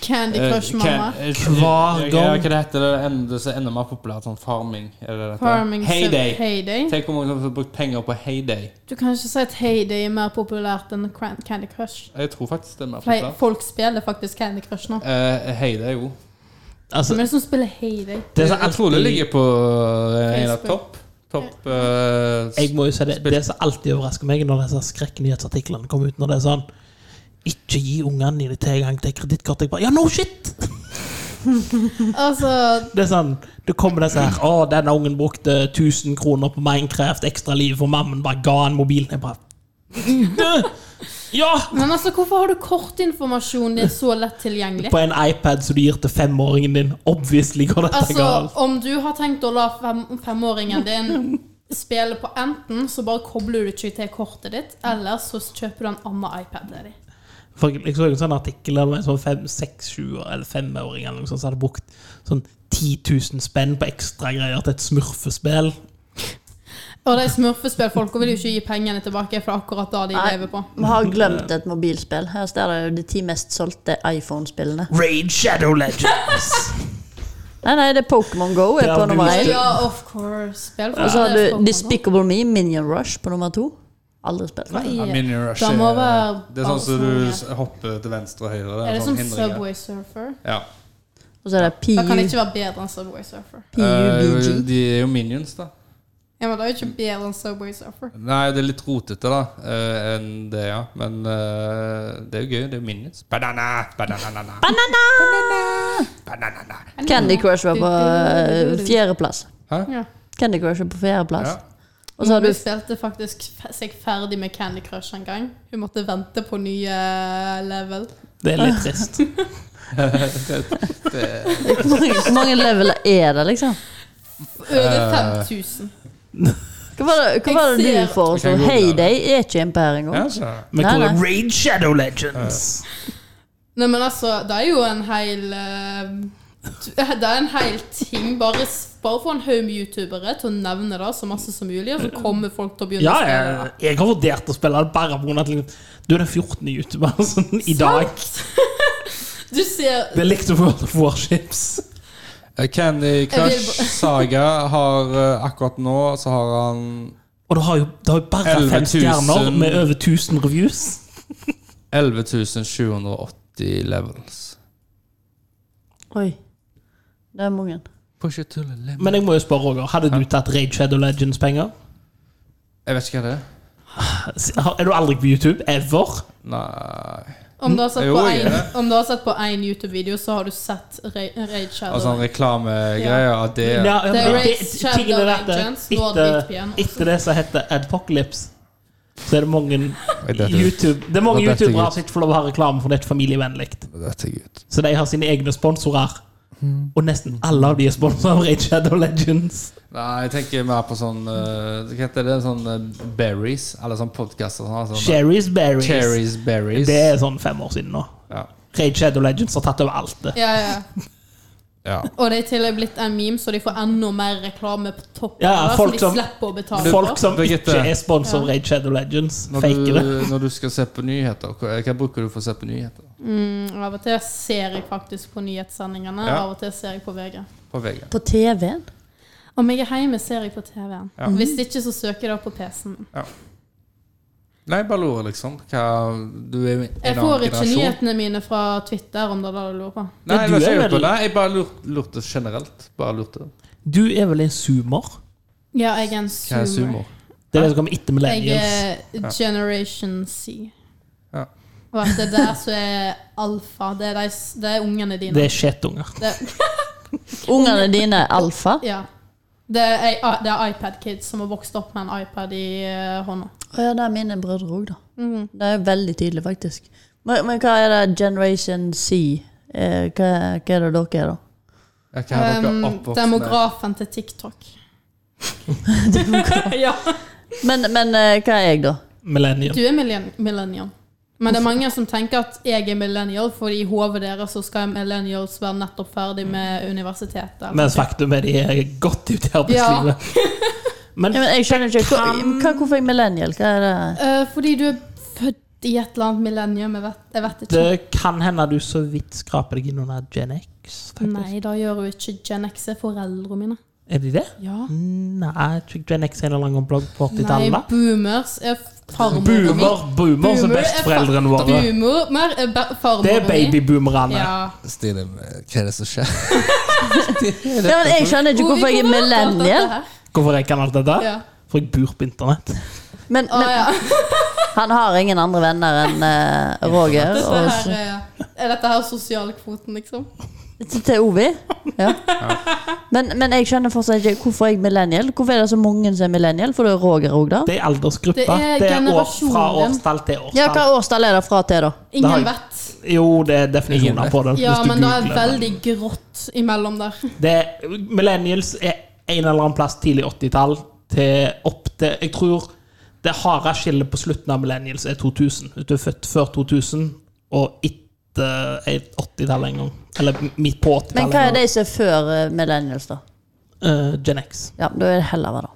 Candy Crush, mamma.
gang. eh,
Hver
Ja,
gang.
hva det heter det? Enda, så enda mer populært sånn farming. Er det dette?
Farming
Heyday.
Heyday.
Tenk hvor mange som har brukt penger på Heyday.
Du kan ikke si at Heyday er mer populært enn Cran- Candy Crush.
Jeg tror faktisk det er mer
Fordi
populært.
Folk spiller faktisk Candy Crush nå.
Eh, Heyday, jo.
Altså,
Men det er som spiller Heyday.
det er sånn så
Jeg tror det ligger på eh, en av
Facebook.
topp. Topp eh,
Jeg må jo si det, det som alltid overrasker meg når disse skrekknyhetsartiklene kommer ut, når det er sånn Ikke gi ungene dine tilgang til kredittkort. Jeg bare Ja, no shit!
Altså,
Det er sånn, det kommer disse her Å, denne ungen brukte 1000 kroner på Minecraft, ekstra liv for mammen, bare ga han mobilen. Jeg bare Ja!
men altså, hvorfor har du kortinformasjon det er så lett tilgjengelig?
På en iPad som du gir til femåringen din. Obviously går dette
Altså,
galt.
om du har tenkt å la fem, femåringen din spille på enten, så bare kobler du ikke til kortet ditt, eller så kjøper du en annen iPad til dem.
For jeg så en sånn artikkel der det var en sånn fem, seks, sju eller femåring eller noe sånt som hadde brukt sånn 10 000 spenn på ekstragreier til et smurfespill.
Og de smurfespillfolka vil jo ikke gi pengene tilbake for akkurat det de
Nei.
lever på.
Vi har glemt et mobilspill. Her står det jo de ti mest solgte iPhone-spillene.
Raid Shadow Legends!
Nei, nei, det er Pokémon Go er
Ja,
på
du
nummer
visste
én.
Ja, of course. Spill for
Og så har
det er for
du
mange.
Despicable Me, Minion Rush, på nummer to. Aldri spilt.
Hva
Ja,
er-
Mini Rush
Da
er,
må være
Det er sånn som du
barnslige.
s- hopper til venstre og høyre. Det
Er
er,
det
sånn
som
hindringer.
Subway Surfer?
Ja.
Og så er det
Det kan
PU
ikke være bedre enn Subway Surfer.
Eh,
PUBG.
de er jo minions, da.
Ja, men det er jo ikke bedre enn Subway Surfer.
Nei, det er litt rotete, da, eh, enn det, ja. Men eh, det er jo gøy. Det er jo minions. Banana! Banana!
Banana!
Banana!
Candy Crush var på eh, fjerdeplass.
Hæ?
Ja.
Candy Crush er på
Ja.
Altså,
fjerdeplass. Og så har du
Hun spilte faktisk fe- seg ferdig med Candy Crush en gang. Hun måtte vente på nye eh, level.
Det er litt trist.
Det,
Hvor mange, hvor mange leveler er det, liksom?
Over 5000.
Hva var det, hva var det
Jeg
du
ser-
foreslo?
Jeg kan google
Heyday er ikke innpå her engang.
ja, så.
Vi
Nei,
kaller
nei.
det Raid Shadow Legends.
Nei, men altså, det er jo en hel eh, t- Det er en hel ting. Bare, s- bare få en haug med youtubere til å nevne det så masse som mulig, og så kommer folk til å begynne
Ja,
å
jeg,
spille. det.
jeg har vurdert å spille det bare pga. at liksom, du er den 14. youtuberen sånn, i dag.
Du ser
Det er likt World of Warships.
Eh, Candy
Jeg
Crush
vil
Saga har eh, akkurat nå så har han
Og det har jo, det har jo bare
11 000.
fem stjerner med over 1000 reviews.
11.780 levels.
Oi. Det er mange.
Push it to the limit.
Men jeg må jo spørre, Roger, hadde du tatt Raid Shadow Legends-penger?
Jeg vet ikke hva det er.
S- har- Er du aldri på YouTube? Ever?
Nei
Om du har sett
Jo,
på
jeg
en-
er det.
om du har sett på én YouTube-video, så har du sett Ra- Raid Shadow.
Altså sånn reklamegreier. at Det
Ja, ja,
The
men
Raid
det-
Shadow
tingen er dette,
Legends, nå har det blitt
Etter,
piano.
etter det som heter Adpocalypse, så er det mange
Oi, dette-
YouTube Det er mange
Nå detter jeg
youtubere
ut.
som ikke får lov å ha reklame, for det er ikke familievennlig.
Dette er gutt.
Så de har sine egne sponsorer. Og nesten alle av de er sponsa av Raid Shadow Legends.
Nei, jeg tenker mer på sånn eh, Hva heter det? Sånn eh, berries? Eller sånn podkaster? Sånn, sånn,
Cherries Berries.
cherries, berries.
Det er sånn fem år siden nå.
Ja.
Raid Shadow Legends har tatt over alt det.
Ja, ja.
ja.
Og det er til og med blitt en meme, så de får enda mer reklame på toppen.
Ja,
da, så
folk
de
som-
slipper å betale.
Folk som
Birgitte.
ikke er sponsa av Raid Shadow Legends,
Når,
faker det.
du, når du skal se på nyheter, hva, hva bruker du for å se på nyheter?
Mm, Av og til ser jeg faktisk på nyhetssendingene,
Ja.
av og til ser jeg på VG.
På VG.
På TV-en?
Om jeg er hjemme, ser jeg på TV-en.
Ja.
Hvis ikke, så søker jeg da på PC-en min.
Nei, bare lurer, liksom. Hva, du er jo i en
Jeg
annen
får ikke
generasjon.
nyhetene mine fra Twitter, om det er det du lurer på.
Nei,
Men
jeg,
du
vet
er
ikke på
vel-
det. jeg bare lurte, lurte generelt. Bare lurte.
Du er vel en zoomer?
Ja, jeg er en
Hva er
zoomer.
sumo?
Det er det som kommer etter
Jeg eh,
millennials.
er Generation C.
Ja.
Og at det der som er alfa, det er, de, s- det er ungene dine.
Det er skjetunger.
Det,
Ungene dine er alfa?
ja. det er, det er iPad-kids som har vokst opp med en iPad i eh, hånda.
Å ja, det er mine brødre òg, da. Det er veldig tydelig, faktisk. Men, men hva er det Generation C eh, hva, hva er det dere er, da?
Ja, hva er dere
Um,
oppvokst med?
demografen til TikTok. ja.
Men, men eh, hva er jeg, da?
Millennium.
Du er millen- millennial. Men det er mange som tenker at jeg er millennial, for i hodet deres så skal millennials være nettopp ferdig med universitetet.
Mens faktum er de er godt ute i arbeidslivet. Men
Ja, men jeg skjønner ikke, hva, hva, Hvorfor er jeg millennial? Hva er det?
Eh, fordi du er født i et eller annet millennium, jeg vet, jeg vet ikke.
det kan hende du så vidt skraper deg inn under Gen X. faktisk.
Nei, da gjør hun ikke Gen X, er foreldrene mine.
Er de det?
Ja.
Nei, jeg tror ikke Gen X er en eller annen blogg på
Nei,
80-tallet.
boomers er farmor.
Boomer, boomer som besteforeldrene våre.
Boomer er ba- farmor.
Det er babyboomerne.
Ja.
Stine, hva er det som skjer?
Ja, men jeg skjønner ikke hvorfor jeg er
Hvor vi kommer til
millennial.
dette her.
Hvorfor jeg kan alt dette?
Ja.
For jeg bor på internett.
Men,
Å,
men
ja.
han har ingen andre venner enn eh, Roger.
Dette
Og,
her er, er dette her sosialkvoten, liksom?
Til- Til Ovi? Ja. Men, men jeg skjønner fortsatt ikke hvorfor jeg er millennial. Hvorfor er det så mange som er millennial? For det er Roger òg, da.
Det er aldersgruppa.
Det er
Det er år,
generasjonen.
fra årstall til årstall.
Ja, hva årstall er det fra til, da?
Det har
Ingen
jeg-
vet.
Jo, det er definisjoner på det.
Ja,
hvis du
men det er
googler
veldig grått imellom der.
det er, Millennials er en eller annen plass tidlig 80-tall til opp til Jeg tror det harde skillet på slutten av millennials er 2000. Hvis du er født før 2000 og et- eh, et 80-tall en gang. Eller midt på 80-tallet.
Men hva
en
er
gang.
de som er før eh, millennials, da?
Eh, Gen X.
Ja, da er det heller hva da.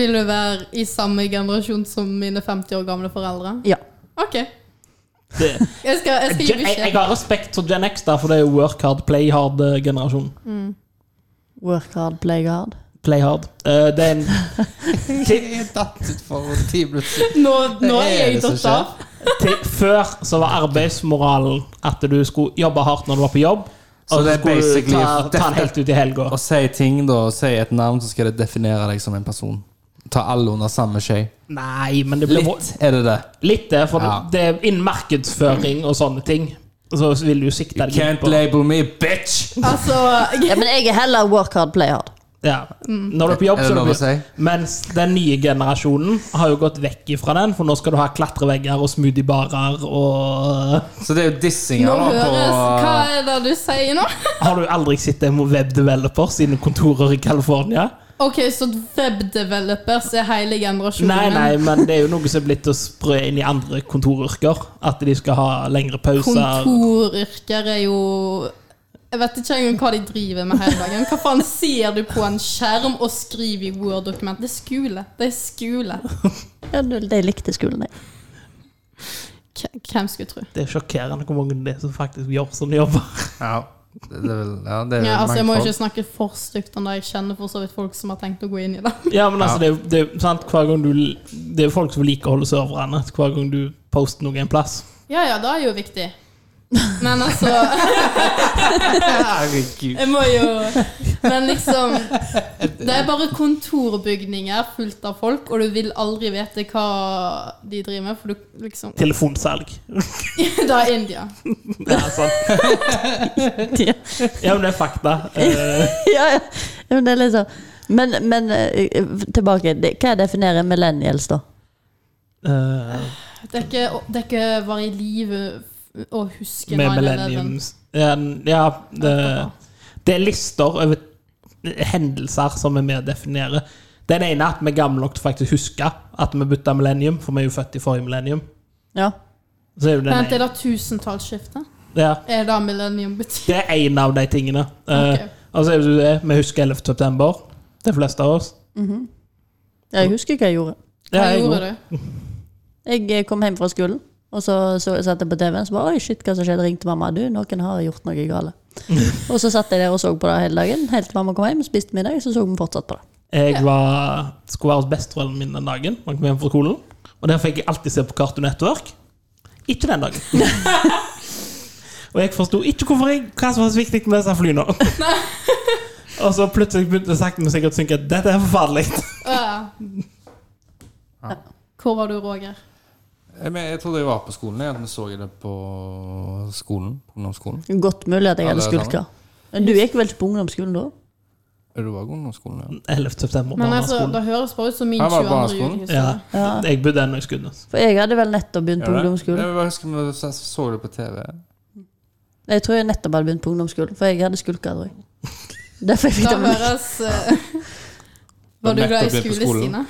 Vil du være i samme generasjon som mine 50 år gamle foreldre?
Ja.
OK. Jeg
Det,
skal, jeg skal gi
Gen, jeg, jeg
beskjed.
har respekt for Gen X, da, for det er jo work hard, eh, play hard-generasjonen.
Work hard, play hard.
Play hard. Eh, det er en
Jeg datt ut for ti minutter siden.
Nå, nå
Det er
er jeg
det som
tatt av.
til, før så var arbeidsmoralen at du skulle jobbe hardt når du var på jobb.
Så
og
det
så
er
skulle du
basically-
ta, ta den helt ut i helga.
Å si ting, da. å Si et navn, så skal det definere deg som en person. Ta alle under samme skje.
Nei, men det blir
Litt er det det.
Litt det, for
Ja.
det er innen markedsføring og sånne ting. Så vil du sikte deg inn
Can't
på
label me bitch!
Altså,
Ja, men jeg er heller work hard, play hard.
ja. Når du er på jobb,
Er det
så er
lov
du
å si?
Mens den nye generasjonen har jo gått vekk ifra den, for nå skal du ha klatrevegger og smoothiebarer og
Så det er jo
nå
dissinger da,
høres Hva
på
er det du sier nå?
Har du aldri sett en webdeveloper sine kontorer i California?
OK, så webdevelopers er hele generasjonen
Mhm.
Nei, nei, men det er jo noe som er blitt å sprø inn i andre kontoryrker. At de skal ha lengre pauser.
Kontoryrker er jo Jeg vet ikke engang hva de driver med hele dagen. Hva faen ser du på en skjerm og skriver i Word-dokument? Det er skole. Det er skole.
Ja, du- De likte skolen, de.
K- Hvem skulle tro?
Det er sjokkerende hvor mange det er som faktisk gjør som de jobber.
Ja, det er vel ja, det er
Ja, altså, jeg må
mangfold.
ikke snakke for stygt om det. Jeg kjenner for så vidt folk som har tenkt å gå inn i det.
Ja, men altså, det er, jo- det er jo sant, hver gang du Det er jo folk som liker å holde serverne. Hver gang du poster noe en plass.
Ja ja, det er jo viktig. Men altså
Herregud.
Jeg må jo Men liksom Det er bare kontorbygninger fullt av folk, og du vil aldri vite hva de driver med, for du liksom
Telefonsalg.
Det er India.
Ja, sant.
Ja,
ja, men det er fakta. Eh,
ja, ja. Men det er liksom Men, men eh, tilbake. Det- Hva definerer millennials, da?
eh,
Det er ikke, det er ikke var i live og huske
med
9/11.
millenniums Ja, ja det, det er lister over hendelser som vi mer definerer. Den ene er at vi er gamle nok til faktisk å huske at vi bytta millennium, for vi er jo født i forrige millennium.
Ja.
Så er jo den
Vent, er
ene.
det tusentallsskifte?
Ja,
Er det millennium betyr?
det er én av de tingene. Eh,
Ok.
og så er det jo det, vi husker 11. september, de fleste av oss.
Jeg husker hva jeg gjorde.
Ja,
Hva
jeg
gjorde
går.
du?
Jeg eh, kom hjem fra skolen, og så, så satt jeg på TV-en så bare Oi, shit, hva som skjedde? Ringte mamma. Du, noen har gjort noe gale. og så satt jeg der og så på det hele dagen, helt til mamma kom hjem, spiste middag, så så vi fortsatt på det.
Jeg var, skulle være hos besteforeldrene mine den dagen. Man kom hjem fra skolen Og der fikk jeg alltid se på Cartoon Network. Ikke den dagen. og jeg forsto ikke hvorfor jeg, hva som var så viktig med disse flyene. og så plutselig begynte jeg sakte, men sikkert å synke at dette er forferdelig.
Ja. Hvor var du, Roger?
Jeg, men, jeg trodde jeg var på skolen, jeg, at vi så det på skolen. på Ungdomsskolen.
Godt mulig at jeg
Ja,
hadde
det er
skulka. Men du gikk vel ikke på ungdomsskolen da?
Er du var på ungdomsskolen, ja.
11. september.
Men altså,
barneskolen.
Det høres bare ut som min
Her var
22.
barneskolen.
ja.
julehistorie.
Jeg bodde ennå i Skudenes.
For jeg hadde vel nettopp begynt på
Gjør det?
ungdomsskolen.
Jeg bare husker vi så- så det på TV.
Jeg tror jeg nettopp hadde begynt på ungdomsskolen, for jeg hadde skulka, tror jeg. Derfor jeg fikk
Da
det. med.
høres eh, Var du
Nettopp
glad i
begynt på
skole,
skolen.
Stine?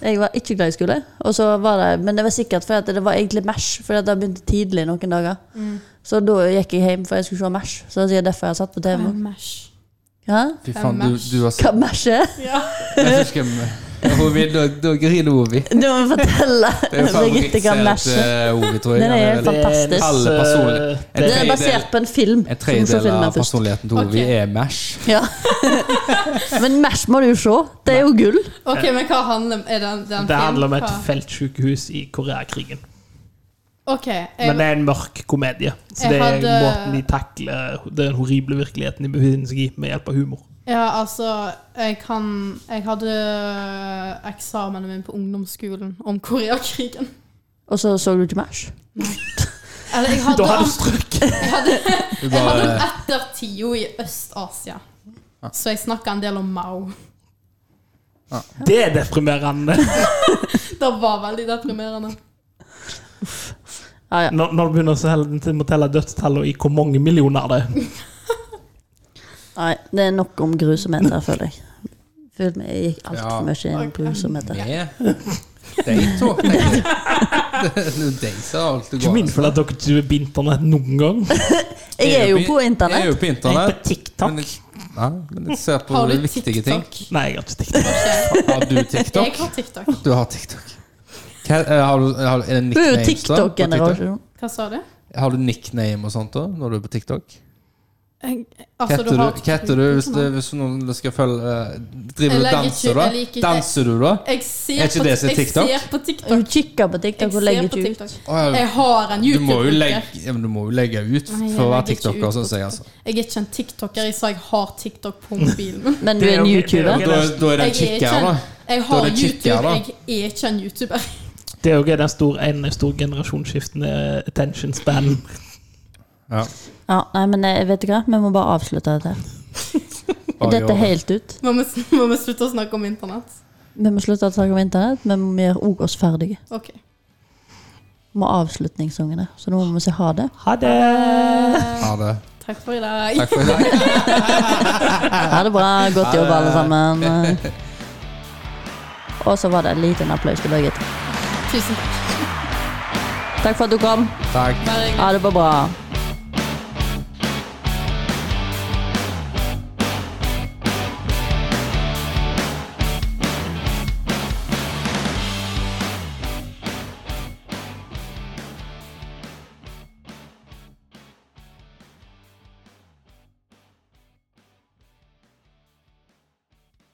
Jeg var ikke glad i skole, og så var det, men det var sikkert fordi at det var egentlig mash, fordi at det begynte tidlig noen dager.
Mm.
Så da gikk jeg hjem, for jeg skulle se mash. Så det er sikkert derfor jeg har satt på TV.
Mm. Mash.
Hæ?
Fy faen, du, du har
Hva mash er?
Jeg husker Ovi, da, da griner Ovi.
Du må fortelle
Det er jo eh,
Birgitte hva
favorittserien
mash er.
til Ovi, tror jeg.
Den er
Han vel-
fan- Fantastisk.
Alle personlig-
Det,
Den
det,
er basert på en film.
En
som
tredjedel
filmen
av
først.
personligheten til Ovi
Ok.
er mash.
Ja. Men mash må du jo se. Det er jo gull.
Ok, men hva handler er det, det er en
det handler om
film?
et
Hva?
feltsykehus i Koreakrigen.
Ok, jeg,
Men det er en mørk komedie. Så
Jeg
det er
hadde-
måten de takler den horrible virkeligheten de befinner seg i, med hjelp av humor.
ja, altså, jeg kan Jeg hadde eksamen min på ungdomsskolen om Koreakrigen.
Og så så du ikke mash.
Eller jeg
Da
hadde,
har du strøk!
jeg hadde,
Du
jeg hadde
bare,
etter tida i Øst-Asia.
Ja.
Så jeg snakka en del om Mao.
Det er deprimerende.
Det var veldig deprimerende.
Ja, ja.
Når, når du begynner å telle- til å telle dødstallene i hvor mange millioner det er.
Nei, det er nok om grusomheter, føler jeg. Føler meg- Jeg gikk altfor
Ja.
mye inn i grusomheter.
Med. De to. tenker jeg. Det er jo de som har holdt det
Ikke minst fordi at dere ikke er på internett noen gang.
Jeg er jo på
Jeg er
internett.
jo på
Jeg er på
internett.
TikTok.
Men jeg, nei, men jeg ser på
Har du
viktige ting.
TikTok?
Nei, jeg har ikke TikTok.
Har du
Jeg
TikTok?
har TikTok.
Du har TikTok. Hva, eh, har du, har, du- er det
Du er jo
nicknames, da, på
TikTok-generasjon.
Hva sa du?
Har du nickname og sånt da, når du er på TikTok?
Jeg-
Hva
altså,
heter du,
har-
hva heter du hvis, det, hvis noen skal følge eh, Driver
Jeg
du og
legger
danser,
ikke-
da?
jeg liker ikke-
Danser du, da?
Jeg ser
Er ikke
på-
det som er TikTok?
Jeg ser på TikTok.
Du kikker på TikTok
Jeg
og
ser
legger
på
ikke ut.
TikTok.
Å, ja,
Jeg har en
du, må jo
YouTube-bruker.
legge, ja, men du må jo legge ut
Nei, jeg
for å være
legger ikke ut
TikToker,
på
syns jeg.
TikTok.
altså.
Jeg er ikke en TikToker, jeg sa jeg har TikTok på mobilen.
Men du er en
Da,
YouTuber.
da er det en
Jeg er ikke
kicker, da.
en- Jeg har
Da er det
YouTube,
kicker, da.
jeg er ikke en YouTuber.
Det er jo en stor, en av de store generasjonsskiftene attention span.
Ja,
Ja, nei, men eh, vet du hva? Vi må bare avslutte dette.
bare gjør
Dette er
det.
helt ut.
Må vi, må vi slutte å snakke om internett?
Vi må slutte å snakke om internett, men vi gjør òg oss ferdige.
Ok.
Vi må ha avslutningssangene. Så nå må vi si ha det.
Ha det!
Ha det.
Takk for i dag.
Takk for i dag.
Ha det bra. Godt jobb, alle sammen. Og så var det en liten applaus til Birgit.
Tusen takk.
Takk for at du kom.
Takk.
Bare
Ha det bra.